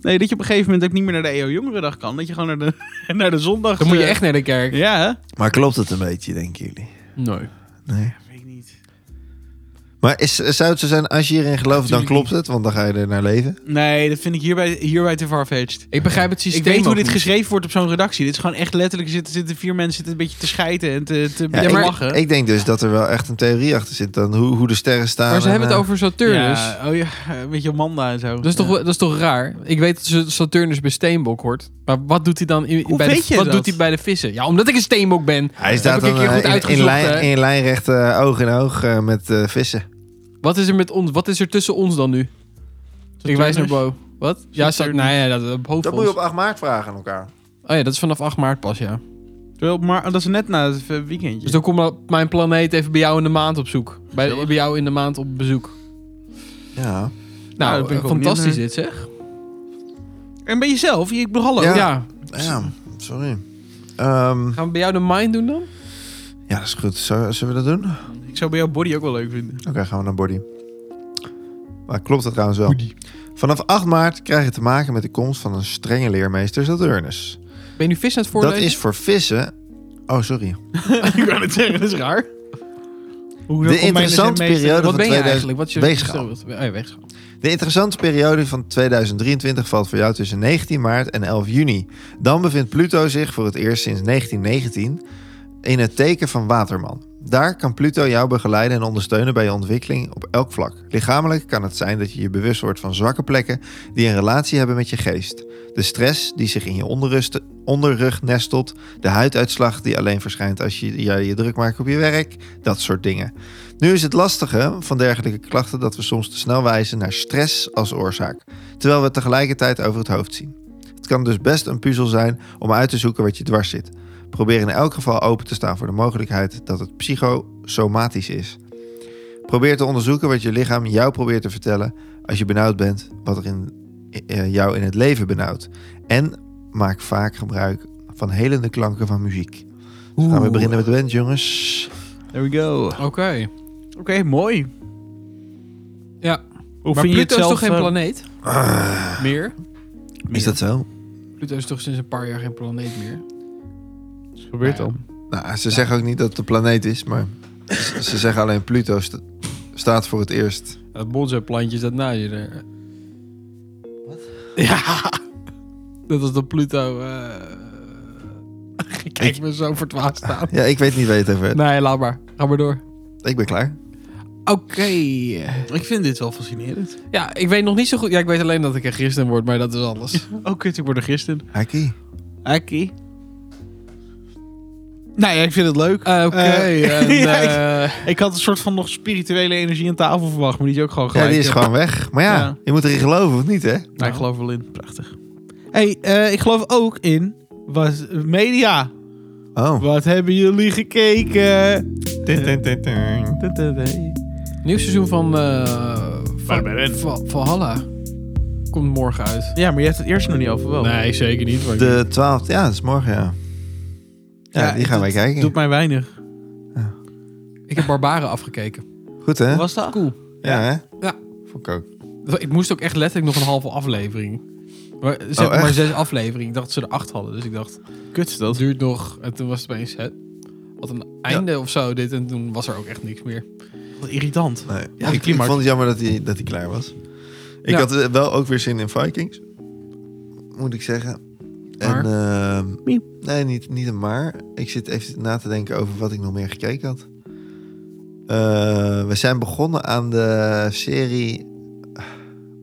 Speaker 1: Nee, dat je op een gegeven moment ook niet meer naar de EO Jongerendag kan. Dat je gewoon naar de, naar de zondag...
Speaker 2: Dan moet je
Speaker 1: eh,
Speaker 2: echt naar de kerk.
Speaker 1: Ja, hè?
Speaker 3: Maar klopt het een beetje, denken jullie?
Speaker 2: Nee.
Speaker 3: Nee.
Speaker 1: Weet ik niet.
Speaker 3: Maar is, zou het zo zijn, als je hierin gelooft, dan
Speaker 1: Natuurlijk
Speaker 3: klopt het. Want dan ga je er naar leven.
Speaker 1: Nee, dat vind ik hierbij, hierbij te farfetched.
Speaker 2: Ik begrijp het systeem
Speaker 1: Ik weet hoe
Speaker 2: ook
Speaker 1: dit
Speaker 2: niet.
Speaker 1: geschreven wordt op zo'n redactie. Dit is gewoon echt letterlijk zitten, zitten vier mensen zitten een beetje te scheiden en te, te,
Speaker 3: Ja,
Speaker 1: te
Speaker 2: maar-
Speaker 1: lachen.
Speaker 3: Ik denk dus dat er wel echt een theorie achter zit. Dan hoe, hoe de sterren staan.
Speaker 2: Maar ze
Speaker 3: en,
Speaker 2: hebben het
Speaker 3: eh,
Speaker 2: over Saturnus.
Speaker 1: Ja, oh ja, een beetje Amanda en zo.
Speaker 2: Dat is, toch, wel- dat is toch raar? Ik weet dat ze- Saturnus bij steenbok hoort. Maar wat doet hij dan in,
Speaker 1: Hoe
Speaker 2: bij, de,
Speaker 1: weet je
Speaker 2: wat
Speaker 1: dat?
Speaker 2: Doet hij bij de vissen? Ja, omdat ik een steenbok ben.
Speaker 3: Hij staat
Speaker 2: Heb ik
Speaker 3: dan
Speaker 2: een keer
Speaker 3: eh,
Speaker 2: goed
Speaker 3: in, in,
Speaker 2: uitgezocht,
Speaker 3: lijn,
Speaker 2: hè?
Speaker 3: in lijnrecht eh, oog in oog eh, met eh, vissen.
Speaker 2: Wat is er met ons? Wat is er tussen ons dan nu? Ik wijs naar Bo. Wat? Ja, Sa-
Speaker 1: Saturnus.
Speaker 2: nou ja, dat, dat,
Speaker 3: Dat moet je op 8 maart vragen aan elkaar.
Speaker 2: Oh ja, dat is vanaf 8 maart pas, ja.
Speaker 1: Terwijl, maar dat is net na het eh, weekendje.
Speaker 2: Dus dan komt mijn planeet even bij jou in de maand op zoek. Bij,
Speaker 1: Gezellig.
Speaker 2: bij jou in de maand op bezoek.
Speaker 3: Ja.
Speaker 1: dat
Speaker 2: Nou,
Speaker 1: ben ik
Speaker 2: eh,
Speaker 1: ook
Speaker 2: fantastisch
Speaker 1: niet,
Speaker 2: dit zeg.
Speaker 1: en ben je zelf? Ik bedoel, hallo.
Speaker 3: Ja.
Speaker 2: ja.
Speaker 3: ja sorry. Ehm,
Speaker 2: Gaan we bij jou de mind doen dan?
Speaker 3: ja, dat is goed. Zullen zullen we dat doen? Oké,
Speaker 1: Ik zou bij jouw body ook wel leuk vinden.
Speaker 3: gaan we naar Body. Maar klopt dat trouwens wel? Vanaf 8 maart krijg je te maken met de komst van een strenge leermeester Saturnus.
Speaker 2: Ben je nu vis aan het
Speaker 3: Dat
Speaker 2: voorlezen?
Speaker 3: is voor vissen Oh, sorry.
Speaker 1: ik wou het zeggen, dat is raar.
Speaker 3: De interessante periode
Speaker 2: Wat
Speaker 3: van
Speaker 2: ben je
Speaker 3: 2000
Speaker 2: eigenlijk? Wat is je
Speaker 3: weegschaal.
Speaker 2: Oh ja, weegschaal.
Speaker 3: De interessante periode van 2023 valt voor jou tussen 19 maart en 11 juni. Dan bevindt Pluto zich voor het eerst sinds 1919 in het teken van Waterman. Daar kan Pluto jou begeleiden en ondersteunen bij je ontwikkeling op elk vlak. Lichamelijk kan het zijn dat je je bewust wordt van zwakke plekken die een relatie hebben met je geest. De stress die zich in je onderrust, onderrug nestelt, de huiduitslag die alleen verschijnt als je ja, je druk maakt op je werk, dat soort dingen. Nu is het lastige van dergelijke klachten dat we soms te snel wijzen naar stress als oorzaak, terwijl we het tegelijkertijd over het hoofd zien. Het kan dus best een puzzel zijn om uit te zoeken wat je dwars zit. Probeer in elk geval open te staan voor de mogelijkheid dat het psychosomatisch is. Probeer te onderzoeken wat je lichaam jou probeert te vertellen als je benauwd bent, wat er in, eh, jou in het leven benauwt. En maak vaak gebruik van helende klanken van muziek. Dus gaan we
Speaker 1: Oeh.
Speaker 3: beginnen met de wens, jongens.
Speaker 1: There we go. Oké,
Speaker 2: Oké.
Speaker 1: mooi.
Speaker 2: Ja.
Speaker 1: Hoe
Speaker 2: maar
Speaker 1: vind je het
Speaker 2: Pluto is
Speaker 1: zelf,
Speaker 2: toch geen
Speaker 1: eh,
Speaker 2: planeet? meer?
Speaker 3: Ah, Is dat zo?
Speaker 2: Pluto is toch sinds een paar jaar geen planeet meer?
Speaker 1: Wat gebeurt
Speaker 2: Nou ja.
Speaker 1: dan?
Speaker 3: Nou, ze zeggen ook niet dat het de planeet is, maar ze ze zeggen alleen Pluto sta- staat voor het eerst.
Speaker 2: Dat bonsai-plantje staat na je er. Wat? Ja. Dat is dat Pluto... eh Ik kijk me zo verdwaasd aan.
Speaker 3: Ja, ik weet niet waar je het over hebt.
Speaker 2: Nee, laat maar. Ga maar door.
Speaker 3: Ik ben klaar.
Speaker 2: Oké.
Speaker 1: Ik vind dit wel fascinerend.
Speaker 2: Ja, ik weet nog niet zo goed. Ja, ik weet alleen dat ik een christen word, maar dat is alles.
Speaker 1: Oh kut, ik word er gisteren.
Speaker 3: Haki.
Speaker 1: Aki.
Speaker 2: Ah,
Speaker 1: Nou ja, ik vind het leuk.
Speaker 2: Eh, Oké.
Speaker 1: Eh,
Speaker 2: en,
Speaker 1: ja, ik-
Speaker 2: eh,
Speaker 1: Ik had een soort van nog spirituele energie aan tafel verwacht, maar die is ook gewoon
Speaker 3: Ja,
Speaker 1: gelijk.
Speaker 3: die is gewoon weg. Maar ja,
Speaker 1: Ja.
Speaker 3: je moet erin geloven of niet, hè?
Speaker 1: Nou, ik geloof wel in. Prachtig. hey, eh, ik geloof ook in was media.
Speaker 3: Oh.
Speaker 1: Wat hebben jullie gekeken?
Speaker 2: Nieuw seizoen van, eh van,
Speaker 1: Barbarian.
Speaker 2: van Valhalla komt morgen uit.
Speaker 1: Ja, maar je hebt het eerst nog niet over wel.
Speaker 2: Nee, zeker niet. maar ik-
Speaker 3: De 12 ja, dat is morgen, ja. Ja,
Speaker 1: Ja,
Speaker 3: die gaan wij kijken.
Speaker 1: Doet mij weinig.
Speaker 2: Ik heb Barbaren afgekeken.
Speaker 3: Goed, hè?
Speaker 1: Hoe
Speaker 3: Ja,
Speaker 1: was dat?
Speaker 2: Cool.
Speaker 3: hè?
Speaker 2: Ja.
Speaker 3: Vond ik ook.
Speaker 2: Ik moest ook echt letterlijk nog een halve aflevering. Maar, ze hebben
Speaker 3: echt?
Speaker 2: maar zes afleveringen. Ik dacht dat ze er acht hadden. Dus ik dacht,
Speaker 1: Kut is
Speaker 2: dat
Speaker 1: dat.
Speaker 2: duurt nog. En toen was het opeens, hè, wat een einde of zo dit. En toen was er ook echt niks meer.
Speaker 1: Wat irritant.
Speaker 3: Nee.
Speaker 1: Ja,
Speaker 3: ik,
Speaker 1: die
Speaker 3: ik
Speaker 1: markt.
Speaker 3: vond het jammer dat hij dat die klaar was. Ik
Speaker 2: Ja.
Speaker 3: had eh, wel ook weer zin in Vikings. Moet ik zeggen. En,
Speaker 2: Maar?
Speaker 3: ehm,
Speaker 1: Miep.
Speaker 3: nee, niet, niet een maar. Ik zit even na te denken over wat ik nog meer gekeken had. Eh, we zijn begonnen aan de serie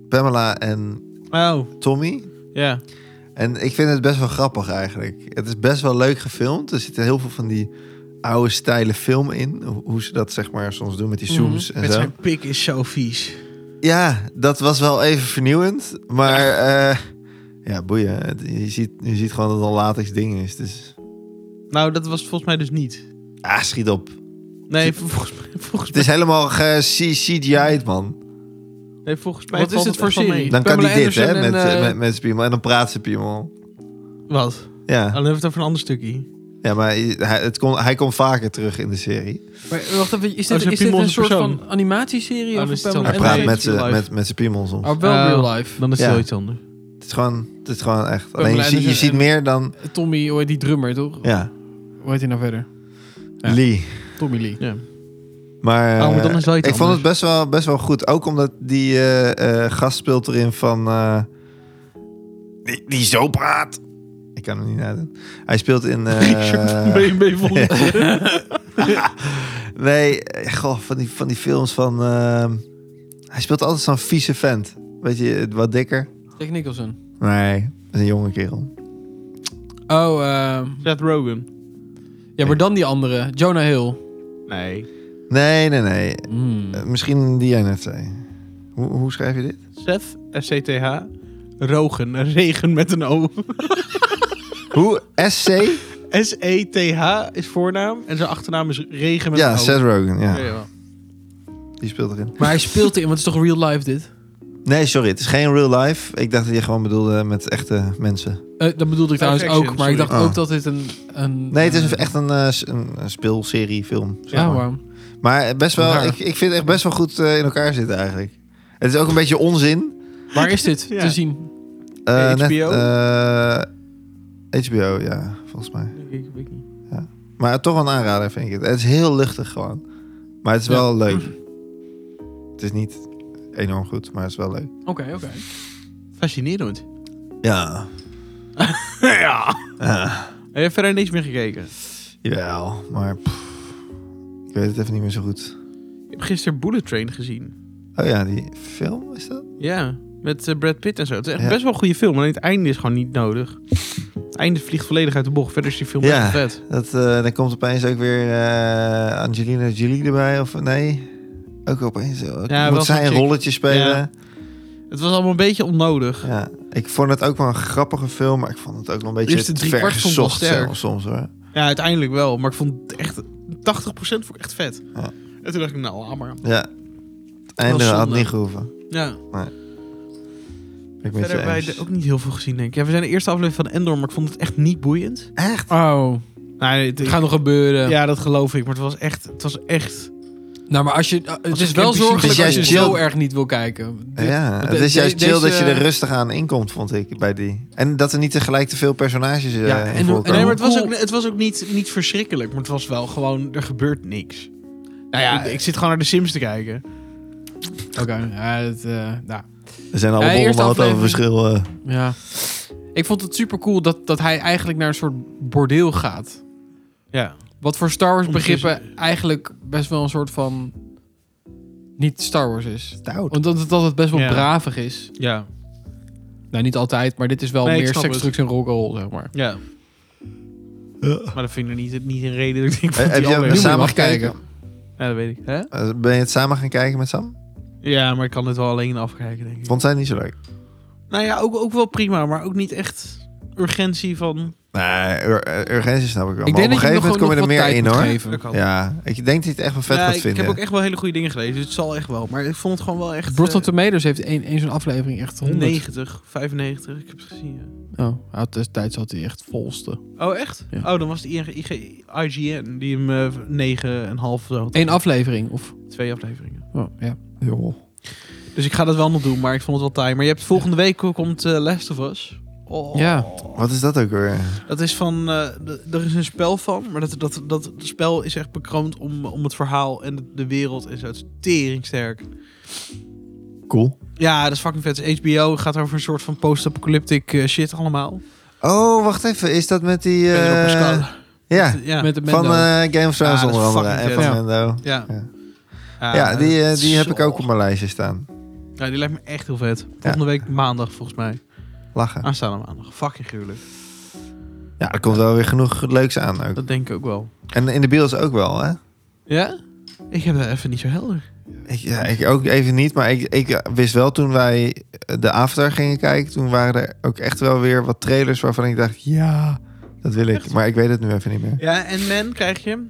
Speaker 3: Pamela en
Speaker 1: Oh,
Speaker 3: Tommy.
Speaker 1: ja.
Speaker 3: En ik vind het best wel grappig eigenlijk. Het is best wel leuk gefilmd. Er zitten heel veel van die oude stijle film in. Hoe- Hoe ze dat zeg maar soms doen met die
Speaker 2: Mhm.
Speaker 3: zooms en
Speaker 1: Met
Speaker 3: zo.
Speaker 1: zijn pik is zo vies.
Speaker 3: Ja, dat was wel even vernieuwend. Maar eh, ja, boeien. Het- Je ziet, je ziet gewoon dat het een latex ding is. Dus
Speaker 1: Nou, dat was volgens mij dus niet.
Speaker 3: ah, schiet op.
Speaker 1: Nee, vol- volgens mij, volgens
Speaker 3: Het is helemaal ge- C- CGI'd, man.
Speaker 1: mij, nee, volgens mij
Speaker 2: Wat is
Speaker 1: valt
Speaker 2: het voor
Speaker 1: echt wel
Speaker 2: serie?
Speaker 1: mee.
Speaker 3: Dan kan
Speaker 2: Pamela
Speaker 3: hij dit, hè,
Speaker 2: Anderson en,
Speaker 3: met, eh,
Speaker 2: eh,
Speaker 3: met, met Spiemel. En dan praat ze Spiemel. Nou-
Speaker 1: Wat? Oh,
Speaker 3: Ja,
Speaker 1: dan hebben we het over een ander stukje.
Speaker 3: ja maar hij, het kon, hij komt vaker terug in de serie.
Speaker 2: Maar wacht even, is
Speaker 1: Oh,
Speaker 2: dit,
Speaker 1: zijn
Speaker 2: is Nou, dit
Speaker 1: piemel
Speaker 2: een
Speaker 1: is een
Speaker 2: soort
Speaker 1: persoon.
Speaker 2: van animatieserie?
Speaker 1: Oh, dan
Speaker 2: of een Eh,
Speaker 1: is het
Speaker 2: Pamela
Speaker 1: zo'n-
Speaker 3: Hij
Speaker 1: en
Speaker 2: Anderson?
Speaker 3: praat
Speaker 1: hij
Speaker 3: met
Speaker 1: is
Speaker 3: zijn
Speaker 1: live.
Speaker 3: met, met zijn piemel soms.
Speaker 2: Maar wel
Speaker 1: Oh.
Speaker 2: real life.
Speaker 1: Dan is het
Speaker 3: Ja.
Speaker 1: wel iets anders.
Speaker 3: Het, is gewoon, het is gewoon echt.
Speaker 2: Pamela
Speaker 3: Alleen je, ziet- je
Speaker 2: Anderson
Speaker 3: ziet
Speaker 2: en-
Speaker 3: meer dan...
Speaker 2: Tommy, hoe heet die drummer toch?
Speaker 3: Ja,
Speaker 2: Hoe heet hij nou verder? Ja.
Speaker 3: Lee.
Speaker 2: Tommy Lee.
Speaker 1: Ja.
Speaker 3: Maar,
Speaker 1: Oh, maar dan
Speaker 3: eh,
Speaker 1: is wel iets
Speaker 3: ik vond het
Speaker 1: anders.
Speaker 3: best wel, best wel goed. Ook omdat die eh, eh, gast speelt erin van... eh, die, die zo praat. Ik kan hem niet nadoen. Hij speelt in... eh,
Speaker 1: ben je mee vol?
Speaker 3: nee, eh, goh, van die, van die films van... eh, hij speelt altijd zo'n vieze vent. Weet je, wat dikker.
Speaker 2: Jack Nicholson.
Speaker 3: Nee, dat is een jonge kerel.
Speaker 2: Oh, ehm,
Speaker 1: Seth Rogen.
Speaker 2: ja, maar dan die andere. Jonah Hill.
Speaker 1: Nee.
Speaker 3: Nee, nee, nee.
Speaker 2: Hmm.
Speaker 3: Eh, misschien die jij net zei. Hoe, hoe schrijf je dit?
Speaker 1: Seth, S-C-T-H. Rogen, regen met een O.
Speaker 3: Hoe? SC?
Speaker 1: S-E-T-H E is voornaam en zijn achternaam is regen met een
Speaker 3: Ja,
Speaker 1: O.
Speaker 3: Seth Rogen.
Speaker 1: Ja,
Speaker 3: Ja,
Speaker 1: jawel.
Speaker 3: die speelt erin.
Speaker 2: Maar hij speelt erin, want het is toch real life dit?
Speaker 3: Nee, sorry, het is geen real life. Ik dacht dat je gewoon bedoelde met echte mensen.
Speaker 2: Eh, dat bedoelde ik trouwens
Speaker 1: Live action,
Speaker 2: ook, maar ik dacht
Speaker 3: sorry.
Speaker 2: ook dat dit een... een
Speaker 3: Nee, het is
Speaker 2: eh,
Speaker 3: echt een, eh, s- een, een speelserie, film. zeg
Speaker 2: Ja,
Speaker 3: maar.
Speaker 2: waarom?
Speaker 3: maar best wel,
Speaker 2: Raar.
Speaker 3: ik, ik vind het echt best wel goed eh, in elkaar zitten eigenlijk. Het is ook een beetje onzin.
Speaker 2: Waar is dit
Speaker 1: Ja.
Speaker 2: te zien?
Speaker 3: Eh,
Speaker 1: HBO?
Speaker 3: eh, HBO, ja, volgens mij.
Speaker 1: Ik, ik weet niet.
Speaker 3: Maar toch een aanrader vind ik het. Het is heel luchtig gewoon. Maar het is
Speaker 2: Ja.
Speaker 3: wel leuk. Het is niet enorm goed, maar het is wel leuk.
Speaker 2: Oké, oké.
Speaker 1: Fascinerend.
Speaker 3: Ja.
Speaker 1: ja.
Speaker 3: Ah,
Speaker 1: Heb je verder niks meer gekeken?
Speaker 3: jawel, maar pff, ik weet het even niet meer zo goed.
Speaker 1: Ik heb gisteren Bullet Train gezien.
Speaker 3: Oh ja, die film is dat?
Speaker 1: Ja, met eh, Brad Pitt en zo. Het is echt
Speaker 3: Ja.
Speaker 1: best wel een goede film, alleen het einde is gewoon niet nodig. Het einde vliegt volledig uit de bocht. Verder is die film
Speaker 3: Ja.
Speaker 1: echt vet.
Speaker 3: dat eh dan komt opeens ook weer eh, Angelina Jolie erbij. Of nee, ook opeens. eh,
Speaker 1: Ja, wel
Speaker 3: moet zij
Speaker 1: zo'n
Speaker 3: een
Speaker 1: chick.
Speaker 3: rolletje spelen?
Speaker 1: Ja. Het was allemaal een beetje onnodig.
Speaker 3: Ja, ik vond het ook wel een grappige film, maar ik vond het ook wel een beetje
Speaker 1: Eerste
Speaker 3: te
Speaker 1: drie
Speaker 3: ver
Speaker 1: kwart vond ik wel
Speaker 3: gezocht
Speaker 1: sterk.
Speaker 3: zelfs soms hoor.
Speaker 1: Ja, uiteindelijk wel. Maar ik vond het echt... 80% vond ik echt vet.
Speaker 3: Ja.
Speaker 1: En toen dacht ik, nou, laat maar.
Speaker 3: Ja, het einde had
Speaker 1: zonde.
Speaker 3: niet gehoeven.
Speaker 1: Ja.
Speaker 3: Ik ben het
Speaker 1: Verder
Speaker 3: je
Speaker 1: hebben wij
Speaker 3: eens.
Speaker 1: er ook niet heel veel gezien, denk ik. Ja, we zijn de eerste aflevering van Endor, maar ik vond het echt niet boeiend.
Speaker 3: Echt?
Speaker 2: Oh,
Speaker 1: Nee, het,
Speaker 2: het gaat nog gebeuren.
Speaker 1: Ja, dat geloof ik. Maar het was echt... Het was echt
Speaker 2: Nou, maar als je, het
Speaker 1: Als
Speaker 2: is
Speaker 1: een
Speaker 2: wel
Speaker 1: camping-
Speaker 2: zorgelijk
Speaker 3: Dus
Speaker 2: als
Speaker 3: jij
Speaker 2: je
Speaker 3: chill-
Speaker 2: zo erg niet wil kijken. Dit-
Speaker 3: ja,
Speaker 2: want
Speaker 3: het
Speaker 2: de-
Speaker 3: is juist
Speaker 2: de-
Speaker 3: chill dat
Speaker 2: deze-
Speaker 3: je er rustig aan inkomt, vond ik, bij die. En dat er niet tegelijk te veel personages eh
Speaker 2: Ja, en
Speaker 3: in
Speaker 2: hoe-
Speaker 3: voorkomen.
Speaker 1: Nee, maar het was
Speaker 2: Cool.
Speaker 1: ook, het was ook niet, niet verschrikkelijk. Maar het was wel gewoon, er gebeurt niks. Nou ja, ik zit gewoon naar de Sims te kijken.
Speaker 2: Oké, ja, het, eh, nou,
Speaker 3: Er zijn
Speaker 2: Ja,
Speaker 3: alle
Speaker 2: eerste
Speaker 3: borrelmaat over
Speaker 2: aflevering.
Speaker 3: verschil. eh.
Speaker 2: ja. Ik vond het super cool dat, dat hij eigenlijk naar een soort bordeel gaat.
Speaker 1: Ja.
Speaker 2: Wat voor Star Wars
Speaker 1: Ondertussen-
Speaker 2: begrippen eigenlijk best wel een soort van niet Star Wars is.
Speaker 3: Stout.
Speaker 2: Omdat het altijd best wel
Speaker 1: Ja.
Speaker 2: bravig is.
Speaker 1: Ja.
Speaker 2: Nou, niet altijd, maar dit is wel
Speaker 1: Nee, ik
Speaker 2: meer
Speaker 1: snap
Speaker 2: seks,
Speaker 1: het.
Speaker 2: drugs en rock'n'roll, zeg maar.
Speaker 1: Ja. Maar dat vind ik niet, niet een reden dat ik denk
Speaker 3: Eh,
Speaker 1: dat
Speaker 3: heb
Speaker 1: die
Speaker 3: je
Speaker 1: al
Speaker 3: hem
Speaker 1: weg-
Speaker 2: Nu moet je
Speaker 3: samen
Speaker 2: hem afkijken.
Speaker 3: gekeken?
Speaker 1: Ja, dat weet ik. Hè?
Speaker 3: Eh, Ben je het samen gaan kijken met Sam?
Speaker 1: Ja, maar ik kan dit wel alleen afkijken, denk ik.
Speaker 3: Vond zij niet zo leuk?
Speaker 1: Nou ja, ook, ook wel prima, maar ook niet echt urgentie van...
Speaker 3: Nee, ur- eh, urgentie snap ik wel.
Speaker 2: Ik denk
Speaker 3: maar op
Speaker 2: dat
Speaker 3: een
Speaker 2: je
Speaker 3: gegeven
Speaker 2: hem nog gewoon
Speaker 3: moment kom je
Speaker 2: nog
Speaker 3: er
Speaker 2: wat
Speaker 3: meer
Speaker 2: tijd
Speaker 3: in
Speaker 2: moet
Speaker 3: hoor.
Speaker 2: geven.
Speaker 3: Ja, ik denk dat je het echt wel vet
Speaker 1: ja,
Speaker 3: gaat
Speaker 1: ik, ik
Speaker 3: vinden.
Speaker 1: heb ook echt wel hele goede dingen gelezen, dus het zal echt wel. Maar ik vond het gewoon wel echt...
Speaker 2: Rotten
Speaker 1: eh,
Speaker 2: Tomatoes heeft één één zo'n aflevering echt 100.
Speaker 1: 90, 95, ik heb het gezien, ja.
Speaker 2: Oh, ja, destijds had hij echt volste.
Speaker 1: Oh, echt?
Speaker 2: Ja.
Speaker 1: Oh, dan was het IG IGN die hem eh, 9,5 zo had.
Speaker 2: Eén aflevering, of?
Speaker 1: Twee afleveringen.
Speaker 2: Oh, ja.
Speaker 1: Dus ik ga dat wel nog doen, maar ik vond het wel time. Maar je hebt volgende week komt eh, Last of Us. Oh.
Speaker 2: Ja.
Speaker 3: Wat is dat ook weer?
Speaker 1: Dat is van, eh, d- er is een spel van, maar dat, dat, dat spel is echt bekroond om, om het verhaal en de, de wereld en zo. Het is teringsterk.
Speaker 3: Cool.
Speaker 1: Ja, dat is fucking vet. Dus Het is HBO Het gaat over een soort van post-apocalyptic eh, shit allemaal.
Speaker 3: Oh, wacht even. Is dat met die... eh,
Speaker 1: Pedro Pascal.
Speaker 3: ja,
Speaker 1: ja.
Speaker 2: Met de
Speaker 3: van
Speaker 2: Mendo.
Speaker 3: eh, Game of Thrones
Speaker 1: Ah, dat is
Speaker 3: onder andere.
Speaker 1: fucking
Speaker 3: En van
Speaker 1: vet.
Speaker 2: Ja.
Speaker 3: Mendo.
Speaker 1: ja.
Speaker 3: Ja.
Speaker 1: Ah,
Speaker 3: ja, die, eh, die heb ik
Speaker 1: zo.
Speaker 3: ook op mijn lijstje staan.
Speaker 1: Ja, die lijkt me echt heel vet. Volgende week maandag volgens mij.
Speaker 3: Lachen.
Speaker 1: Aanstaande maandag. Fucking gruwelijk.
Speaker 3: Ja, er komt wel weer genoeg leuks aan ook.
Speaker 1: Dat denk ik ook wel.
Speaker 3: En in de beels ook wel, hè?
Speaker 1: Ja? Ik heb dat even niet zo helder.
Speaker 3: Ik, ja, ik ook even niet, maar ik, ik wist wel toen wij de Avatar gingen kijken... toen waren er ook echt wel weer wat trailers waarvan ik dacht... ja, dat wil ik.
Speaker 1: Echt?
Speaker 3: Maar ik weet het nu even niet meer.
Speaker 1: Ja, en men krijg je.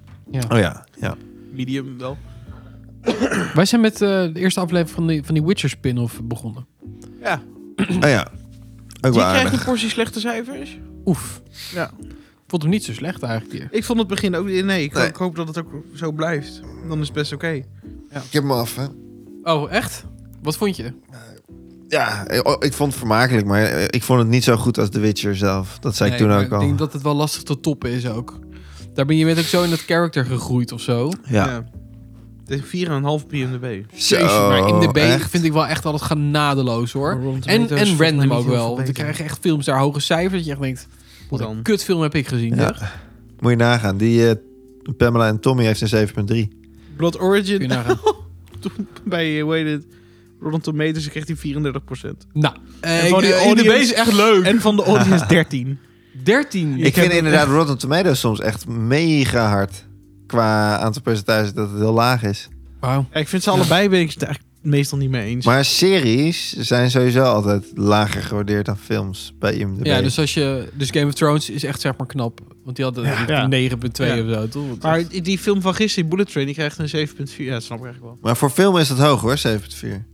Speaker 3: Oh ja, ja.
Speaker 1: Medium wel.
Speaker 2: Wij zijn met eh, de eerste aflevering van die, van die Witcher spin-off begonnen.
Speaker 1: Ja.
Speaker 3: Oh ja, ook
Speaker 1: Die
Speaker 3: wel
Speaker 1: krijgt
Speaker 3: aardig.
Speaker 1: een portie slechte cijfers.
Speaker 2: Oef.
Speaker 1: Ja.
Speaker 2: Ik vond hem niet zo slecht eigenlijk hier.
Speaker 1: Ik vond het begin ook... Nee, ik,
Speaker 3: Nee.
Speaker 1: ik hoop dat het ook zo blijft. Dan is het best oké.
Speaker 3: Ik heb hem af, hè.
Speaker 2: Oh, echt? Wat vond je?
Speaker 3: Ja, eh, oh, ik vond het vermakelijk, maar eh, ik vond het niet zo goed als The Witcher zelf. Dat zei ik toen
Speaker 2: maar
Speaker 3: ook al.
Speaker 2: Ik denk dat het wel lastig te toppen is ook. Daar ben je met ook zo in dat character gegroeid of zo.
Speaker 3: Ja.
Speaker 1: Het is 4,5 PMDB.
Speaker 3: Zo,
Speaker 2: Jeetje, maar in de B
Speaker 3: echt?
Speaker 2: vind ik wel echt altijd genadeloos hoor. En, en random ook wel. Want ik krijg echt films daar hoge cijfers. Dat je echt denkt, wat
Speaker 1: Dan.
Speaker 2: een kutfilm heb ik gezien.
Speaker 3: Ja.
Speaker 2: zeg.
Speaker 3: Moet je nagaan. Die eh, Pamela en Tommy heeft een 7,3.
Speaker 1: Blood
Speaker 2: Kun je
Speaker 1: Origin
Speaker 2: nagaan.
Speaker 1: bij, eh, hoe heet het? Rotten Tomatoes kreeg hij 34%.
Speaker 2: Nou, eh,
Speaker 1: van
Speaker 2: ik,
Speaker 1: die
Speaker 2: eh, in de B
Speaker 1: audience-
Speaker 2: is echt leuk.
Speaker 1: En van de audience 13.
Speaker 2: 13.
Speaker 3: Ik, vind inderdaad Rotten Tomatoes soms echt mega hard. Qua aantal percentages dat het heel laag is.
Speaker 2: Wauw.
Speaker 1: Ja, ik vind ze allebei ben ik het eigenlijk meestal niet mee eens.
Speaker 3: Maar series zijn sowieso altijd lager gewaardeerd dan films bij IMDb.
Speaker 2: Ja, dus als je. Dus Game of Thrones is echt zeg maar knap. Want die had een
Speaker 1: Ja.
Speaker 2: 9,2
Speaker 1: Ja.
Speaker 2: of zo, toch? Want eh,
Speaker 1: Maar
Speaker 2: dat-
Speaker 1: die- die film van gisteren, Bullet Train, die krijgt een 7,4. Ja, dat snap ik eigenlijk wel.
Speaker 3: Maar voor film is dat hoog hoor, 7,4.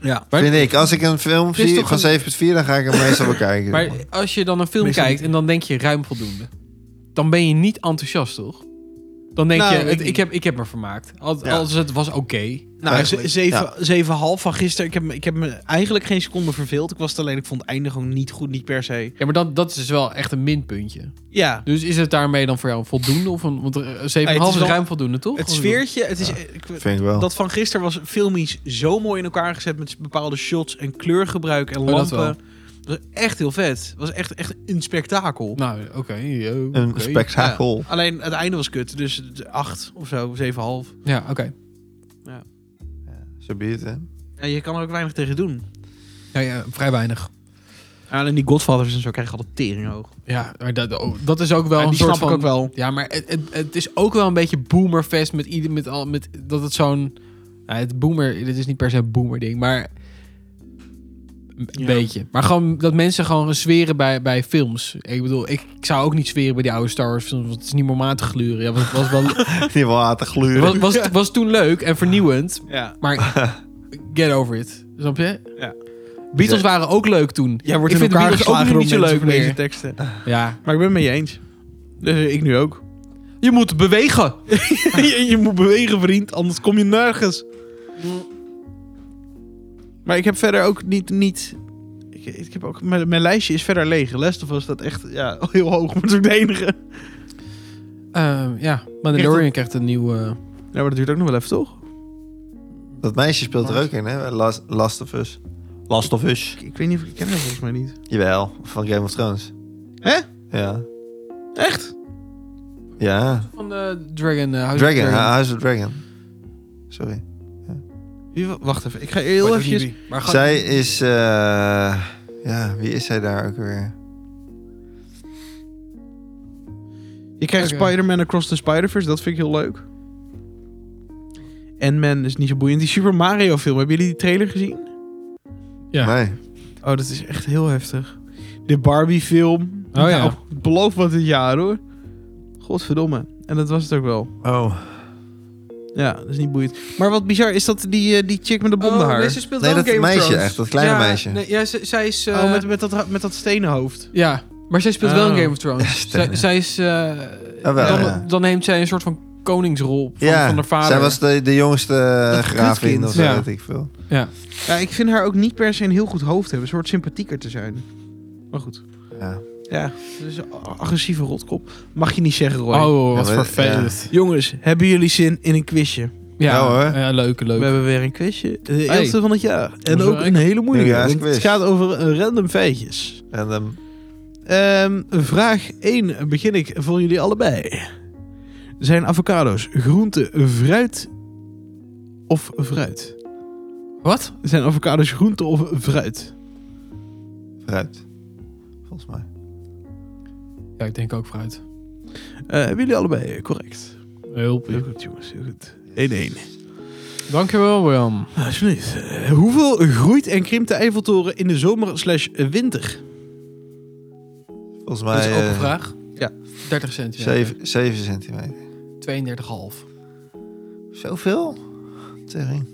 Speaker 1: Ja.
Speaker 2: Maar-
Speaker 3: Vind ik. Als ik een film
Speaker 2: Het is
Speaker 3: zie
Speaker 2: toch
Speaker 3: van 7,4, dan ga ik hem meestal bekijken.
Speaker 2: maar als je dan een film
Speaker 1: Meestal
Speaker 2: kijkt en dan denk je ruim voldoende. Dan ben je niet enthousiast, toch? Dan denk
Speaker 1: Nou,
Speaker 2: je, het,
Speaker 1: ik-
Speaker 2: ik, heb, ik heb me vermaakt. Als,
Speaker 3: Ja.
Speaker 2: als het was oké.
Speaker 1: Nou,
Speaker 3: Eigenlijk,
Speaker 1: ze- zeven, zeven half van gisteren. Ik heb, me- ik heb me eigenlijk geen seconde verveeld. Ik was het alleen, ik vond het einde gewoon niet goed, niet per se.
Speaker 2: Ja, maar dat, dat is dus wel echt een minpuntje.
Speaker 1: Ja,
Speaker 2: Dus is het daarmee dan voor jou een voldoende? Of een, want eh, er- 7,5 is
Speaker 1: wel-
Speaker 2: ruim voldoende, toch?
Speaker 1: het
Speaker 2: Of-
Speaker 1: sfeertje, het is, ik-
Speaker 3: Vind ik wel.
Speaker 1: dat van gisteren was filmisch zo mooi in elkaar gezet met bepaalde shots en kleurgebruik en
Speaker 2: Oh, dat
Speaker 1: lampen. dat, was echt heel vet. Het was echt, echt een spektakel.
Speaker 2: Nou, oké. yo,
Speaker 3: een
Speaker 2: oké.
Speaker 3: spektakel.
Speaker 1: Alleen het einde was kut, dus het- acht of zo, zeven half.
Speaker 2: Ja, oké.
Speaker 3: Zo biedt hè?
Speaker 1: En je kan er ook weinig tegen doen.
Speaker 2: Ja, ja, vrij weinig.
Speaker 1: Alleen die Godfathers en zo krijgen altijd tering hoog.
Speaker 2: Ja, maar dat, oh, dat is ook wel
Speaker 1: En
Speaker 2: een
Speaker 1: die
Speaker 2: soort
Speaker 1: snap ik
Speaker 2: van...
Speaker 1: ook wel.
Speaker 2: Ja, maar het, het, het is ook wel een beetje boomerfest met ieder met al met dat het zo'n ja, het boomer dit is niet per se een boomer ding, maar een
Speaker 1: Ja.
Speaker 2: beetje. Maar gewoon dat mensen gewoon zweren bij, bij films. Ik bedoel, ik, ik zou ook niet zweren bij die oude Star Wars films, want het is niet meer om aan te gluren. Ja, was, was wel
Speaker 3: Die water gluren.
Speaker 2: was, was, was toen leuk en vernieuwend,
Speaker 1: Ja.
Speaker 2: maar get over it. Snap je?
Speaker 1: Ja.
Speaker 2: Beatles waren ook leuk toen.
Speaker 1: Jij wordt
Speaker 2: ik
Speaker 1: in
Speaker 2: vind de
Speaker 1: elkaar
Speaker 2: Beatles ook
Speaker 1: geslagen
Speaker 2: nu
Speaker 1: door
Speaker 2: niet zo
Speaker 1: mensen
Speaker 2: leuk
Speaker 1: voor deze
Speaker 2: meer.
Speaker 1: teksten.
Speaker 2: Ja.
Speaker 1: Maar ik ben het met je eens. Dus eh, ik nu ook.
Speaker 2: Je moet bewegen.
Speaker 1: je, je moet bewegen, vriend, anders kom je nergens. Maar ik heb verder ook niet. niet ik, ik heb ook, mijn, mijn lijstje is verder leeg. Last of Us staat echt ja, heel hoog, maar dat is ook de enige.
Speaker 2: Ehm ja, Mandalorian krijgt een nieuwe eh,
Speaker 1: Ja, maar dat duurt ook nog wel even, toch?
Speaker 3: Dat meisje speelt er ook in, hè? Last, Last of Us. Last of Us.
Speaker 1: Ik, ik weet niet of ik ken dat volgens mij niet.
Speaker 3: Jawel, van Game of Thrones.
Speaker 1: Hè?
Speaker 3: Ja.
Speaker 1: Echt?
Speaker 3: Ja.
Speaker 2: Van de Dragon. eh, House of
Speaker 3: Dragon, House of Dragon. Sorry.
Speaker 1: Wie wa- wacht even, ik ga heel even.
Speaker 2: Maar gaat-
Speaker 3: Zij is... eh, ja, wie is zij daar ook weer?
Speaker 1: Je krijgt
Speaker 2: Oké.
Speaker 1: Spider-Man Across the Spider-Verse, dat vind ik heel leuk. En man is niet zo boeiend. Die Super Mario film, hebben jullie die trailer gezien?
Speaker 2: Ja.
Speaker 3: Nee.
Speaker 1: Oh, dat is echt heel heftig. De Barbie-film.
Speaker 2: Oh ja.
Speaker 1: Nou, beloof wat dit jaar hoor. Godverdomme. En dat was het ook wel.
Speaker 3: Oh.
Speaker 1: Ja, dat is niet boeiend. Maar wat bizar is dat die, eh, die chick met de blonde
Speaker 2: Oh,
Speaker 1: haar.
Speaker 2: nee, ze speelt
Speaker 3: Nee,
Speaker 2: wel
Speaker 3: dat
Speaker 2: Game of
Speaker 3: meisje
Speaker 2: Thrones.
Speaker 3: echt, dat kleine
Speaker 2: Ja,
Speaker 3: meisje.
Speaker 2: Nee, ja, ze- zij is... eh,
Speaker 1: Oh, met, met, dat, met dat stenen hoofd.
Speaker 2: Ja, maar zij speelt wel in
Speaker 1: Oh.
Speaker 2: Game of Thrones. zij,
Speaker 3: Stenen.
Speaker 2: zij is... eh,
Speaker 3: Ah, wel,
Speaker 2: dan,
Speaker 3: ja.
Speaker 2: dan neemt zij een soort van koningsrol van,
Speaker 3: ja,
Speaker 2: van haar vader.
Speaker 3: zij was de, de jongste eh, graafin
Speaker 1: kutkind.
Speaker 3: of zo,
Speaker 2: Ja.
Speaker 3: weet ik veel.
Speaker 1: Ja, ik vind haar ook niet per se een heel goed hoofd hebben. Een soort sympathieker te zijn. Maar goed.
Speaker 3: Ja.
Speaker 1: Ja, dus een a- agressieve rotkop. Mag je niet zeggen, Roy.
Speaker 2: Oh, wat
Speaker 3: Ja, maar-
Speaker 2: vervelend.
Speaker 1: Jongens, hebben jullie zin in een quizje?
Speaker 2: Ja,
Speaker 3: Ja, hoor.
Speaker 2: ja, leuk,
Speaker 1: We
Speaker 2: leuk.
Speaker 1: hebben weer een quizje. De
Speaker 2: Hey.
Speaker 1: eerste van het jaar. En
Speaker 2: Hoezo
Speaker 1: ook een hele moeilijke. want Het
Speaker 3: Nieuwjaarsquiz.
Speaker 1: gaat over eh, random feitjes.
Speaker 3: En ehm,
Speaker 1: Ehm, vraag 1 begin ik voor jullie allebei. Zijn avocado's groente, fruit of fruit?
Speaker 2: Wat?
Speaker 1: Zijn avocado's groente of fruit?
Speaker 3: fruit. Volgens mij.
Speaker 2: Ja, ik denk ook vooruit.
Speaker 1: Eh, hebben jullie allebei correct?
Speaker 2: Hulp.
Speaker 1: Heel goed, jongens. Heel goed. 1-1.
Speaker 2: Dankjewel, William.
Speaker 1: Alsjeblieft. Eh, hoeveel groeit en krimpt de Eiffeltoren in de zomer slash winter?
Speaker 3: Volgens
Speaker 2: Dat is
Speaker 3: mij
Speaker 2: ook een
Speaker 3: eh,
Speaker 2: vraag.
Speaker 1: Ja.
Speaker 2: 30 cent.
Speaker 3: zeven 7 centimeter.
Speaker 2: 32,5.
Speaker 3: Zoveel? Tering.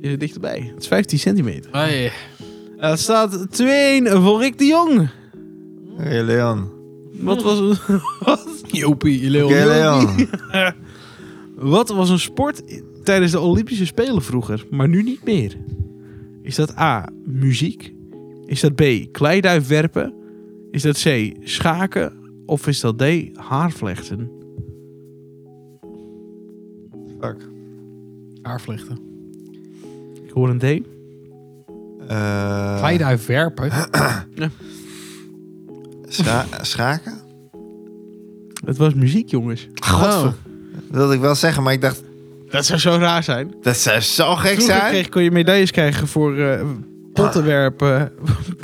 Speaker 1: Je zit Eh, dichterbij. Het is 15 centimeter.
Speaker 2: Hey.
Speaker 1: Eh, Het staat 2-1 voor Rick de Jong.
Speaker 3: Hey Leon.
Speaker 1: Wat was
Speaker 2: Jopie,
Speaker 3: Oké
Speaker 2: Leon.
Speaker 3: Leon.
Speaker 1: Wat was een sport i- tijdens de Olympische Spelen vroeger, maar nu niet meer? Is dat A. muziek? Is dat B. kleiduif werpen? Is dat C. schaken? Of is dat D. haarvlechten?
Speaker 3: Fuck.
Speaker 2: Haarvlechten.
Speaker 1: Ik hoor een D.
Speaker 3: Eh,
Speaker 2: Ga je daar werpen?
Speaker 3: scha-
Speaker 2: Oh.
Speaker 3: schaken?
Speaker 1: Het was muziek, jongens.
Speaker 3: Godver- Dat wilde ik wel zeggen, maar ik dacht,
Speaker 1: Dat zou zo raar zijn.
Speaker 3: dat zou zo gek
Speaker 1: Vroeger
Speaker 3: zijn.
Speaker 1: kreeg, kon je medailles krijgen voor eh, pottenwerpen.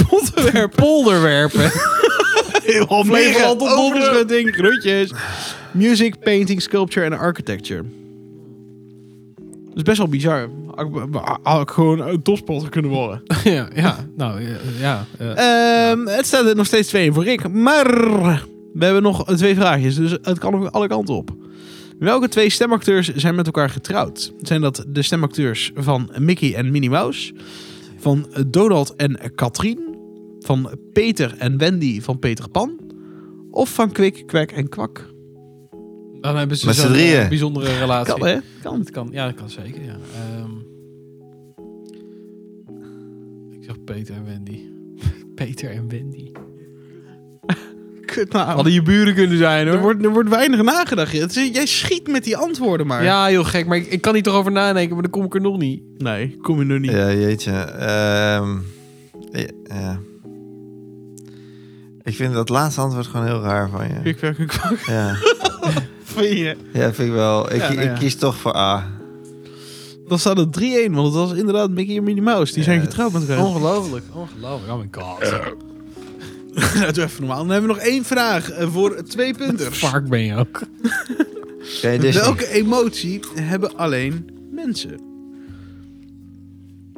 Speaker 1: pottenwerpen.
Speaker 2: polderwerpen.
Speaker 1: Heel
Speaker 3: Nederland
Speaker 1: Nederland
Speaker 3: op
Speaker 1: op onderschutting. Groetjes. Music, painting, sculpture en architecture. Dat is best wel bizar. Had ik- Had ik gewoon een topsporter kunnen worden.
Speaker 2: ja, ja, nou ja. ja, eh.
Speaker 1: Ehm, het staat er nog steeds twee voor Rick. Maar we hebben nog twee vraagjes, dus het kan ook alle kanten op. Welke twee stemacteurs zijn met elkaar getrouwd? Zijn dat de stemacteurs van Mickey en Minnie Mouse? Van Donald en Katrien? Van Peter en Wendy van Peter Pan? Of van Kwik, Kwek en Kwak?
Speaker 2: Dan hebben ze
Speaker 3: Met z'n
Speaker 2: zo'n
Speaker 3: drieën.
Speaker 2: eh, bijzondere relatie.
Speaker 1: Kan, hè? Kan.
Speaker 2: Het kan, ja, dat kan zeker. Ja. Ehm, ik zeg Peter en Wendy. Peter en Wendy.
Speaker 1: Kut, nou,
Speaker 2: Hadden je buren kunnen zijn hoor.
Speaker 1: er, wordt, er wordt weinig nagedacht. Het is- Jij schiet met die antwoorden maar.
Speaker 2: Ja, heel gek, maar ik, ik kan niet erover nadenken, maar dan kom ik er nog niet.
Speaker 1: Nee, kom je nog niet.
Speaker 3: Ja, jeetje. Ehm, ja, ja. Ik vind dat laatste antwoord gewoon heel raar van je.
Speaker 1: Ik werk ook wel
Speaker 3: Ja,
Speaker 1: van je.
Speaker 3: ja vind ik wel. Ik,
Speaker 1: Ja, nou ja.
Speaker 3: ik kies toch voor A.
Speaker 1: Dan staat het 3-1, want het was inderdaad Mickey en Minnie Mouse. Die zijn
Speaker 3: Ja,
Speaker 1: getrouwd met elkaar.
Speaker 2: Ongelooflijk, ongelooflijk. Oh my god.
Speaker 3: Eh,
Speaker 1: Nou, doe even normaal. Dan hebben we nog één vraag eh, voor twee punters.
Speaker 2: Vark ben je ook.
Speaker 3: Ken je Disney?
Speaker 1: Welke emotie hebben alleen mensen?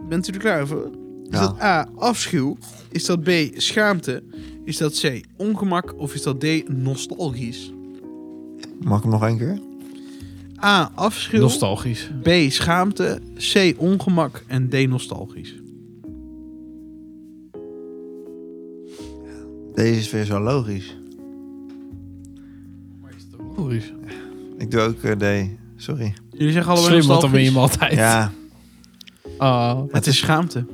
Speaker 1: Bent u er klaar voor? Is
Speaker 3: Ja.
Speaker 1: dat A, afschuw? Is dat B, schaamte? Is dat C, ongemak? Of is dat D, nostalgisch?
Speaker 3: Mag ik hem nog één keer?
Speaker 1: A, afschuw.
Speaker 2: Nostalgisch.
Speaker 1: B, schaamte. C, ongemak. En D, nostalgisch.
Speaker 3: Deze is weer zo logisch.
Speaker 2: Logisch.
Speaker 3: Ik doe ook eh, D. Sorry.
Speaker 1: Jullie zeggen allemaal
Speaker 2: Slim, want dan win je
Speaker 1: nostalgisch.
Speaker 2: hem altijd.
Speaker 3: Ja,
Speaker 2: Oh.
Speaker 1: Het is schaamte.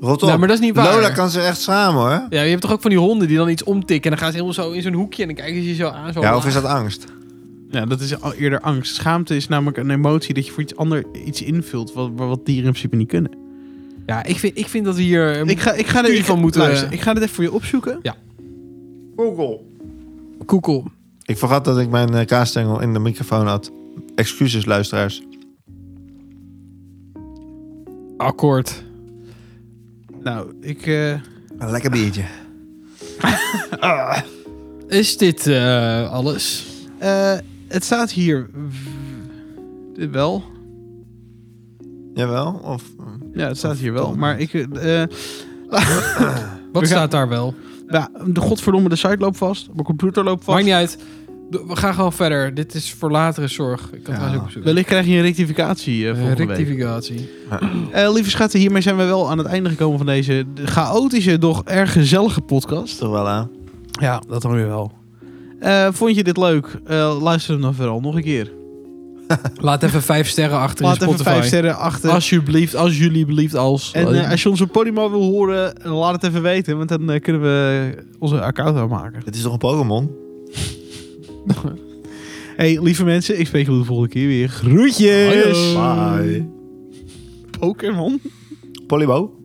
Speaker 3: rot op.
Speaker 2: Nou, maar dat is niet waar. Oh,
Speaker 3: Lola kan ze echt schamen hoor.
Speaker 2: Ja, je hebt toch ook van die honden die dan iets omtikken en dan gaan ze helemaal zo in zo'n hoekje en dan kijken ze je zo aan. Zo
Speaker 3: Ja, of
Speaker 2: laag.
Speaker 3: is dat angst?
Speaker 1: Ja, dat is al eerder angst. Schaamte is namelijk een emotie dat je voor iets anders iets invult wat, wat dieren in principe niet kunnen.
Speaker 2: Ja, ik vind, ik vind dat we hier... eh,
Speaker 1: Ik ga, ik ga,
Speaker 2: Kun je
Speaker 1: ik,
Speaker 2: van moeten-
Speaker 1: luister, ik ga dit even voor je opzoeken.
Speaker 3: Google.
Speaker 2: Koekel.
Speaker 3: Ik vergat dat ik mijn eh, kaasstengel in de microfoon had. Excuses, luisteraars.
Speaker 2: Akkoord.
Speaker 1: Nou, ik... eh,
Speaker 3: Een lekker biertje.
Speaker 2: Is dit eh, alles?
Speaker 1: eh, het staat hier... Dit wel.
Speaker 3: Jawel? Of... eh,
Speaker 1: Ja, het staat hier wel. Maar ik... eh,
Speaker 2: Wat
Speaker 1: We gaan-
Speaker 2: staat daar wel?
Speaker 1: ja, nou, de godverdomme, de site loopt vast. Mijn computer loopt
Speaker 2: Maakt
Speaker 1: vast.
Speaker 2: niet uit. Do- We gaan gewoon verder. Dit is voor latere zorg. Ik kan
Speaker 3: Ja.
Speaker 2: het ook zoeken.
Speaker 1: Wellicht krijg je een rectificatie eh volgende week.
Speaker 2: Rectificatie.
Speaker 1: Eh, lieve schatten, hiermee zijn we wel aan het einde gekomen van deze chaotische, doch erg gezellige podcast.
Speaker 3: Toch wel aan.
Speaker 1: Ja, dat dan weer wel. Eh, vond je dit leuk? Eh, luister hem dan vooral nog een keer.
Speaker 2: Laat even vijf sterren achter
Speaker 1: Laat
Speaker 2: in
Speaker 1: even
Speaker 2: Spotify.
Speaker 1: vijf sterren achter.
Speaker 2: Alsjeblieft, als jullie belieft, als.
Speaker 1: en eh, als je ons op Podimo wil horen, eh, laat het even weten. Want dan eh, kunnen we onze account aanmaken.
Speaker 3: Het is toch een Pokémon?
Speaker 1: hey, lieve mensen. Ik spreek jullie de volgende keer weer. Groetjes!
Speaker 2: Hoi.
Speaker 3: Bye.
Speaker 1: Pokémon.
Speaker 3: Polybo?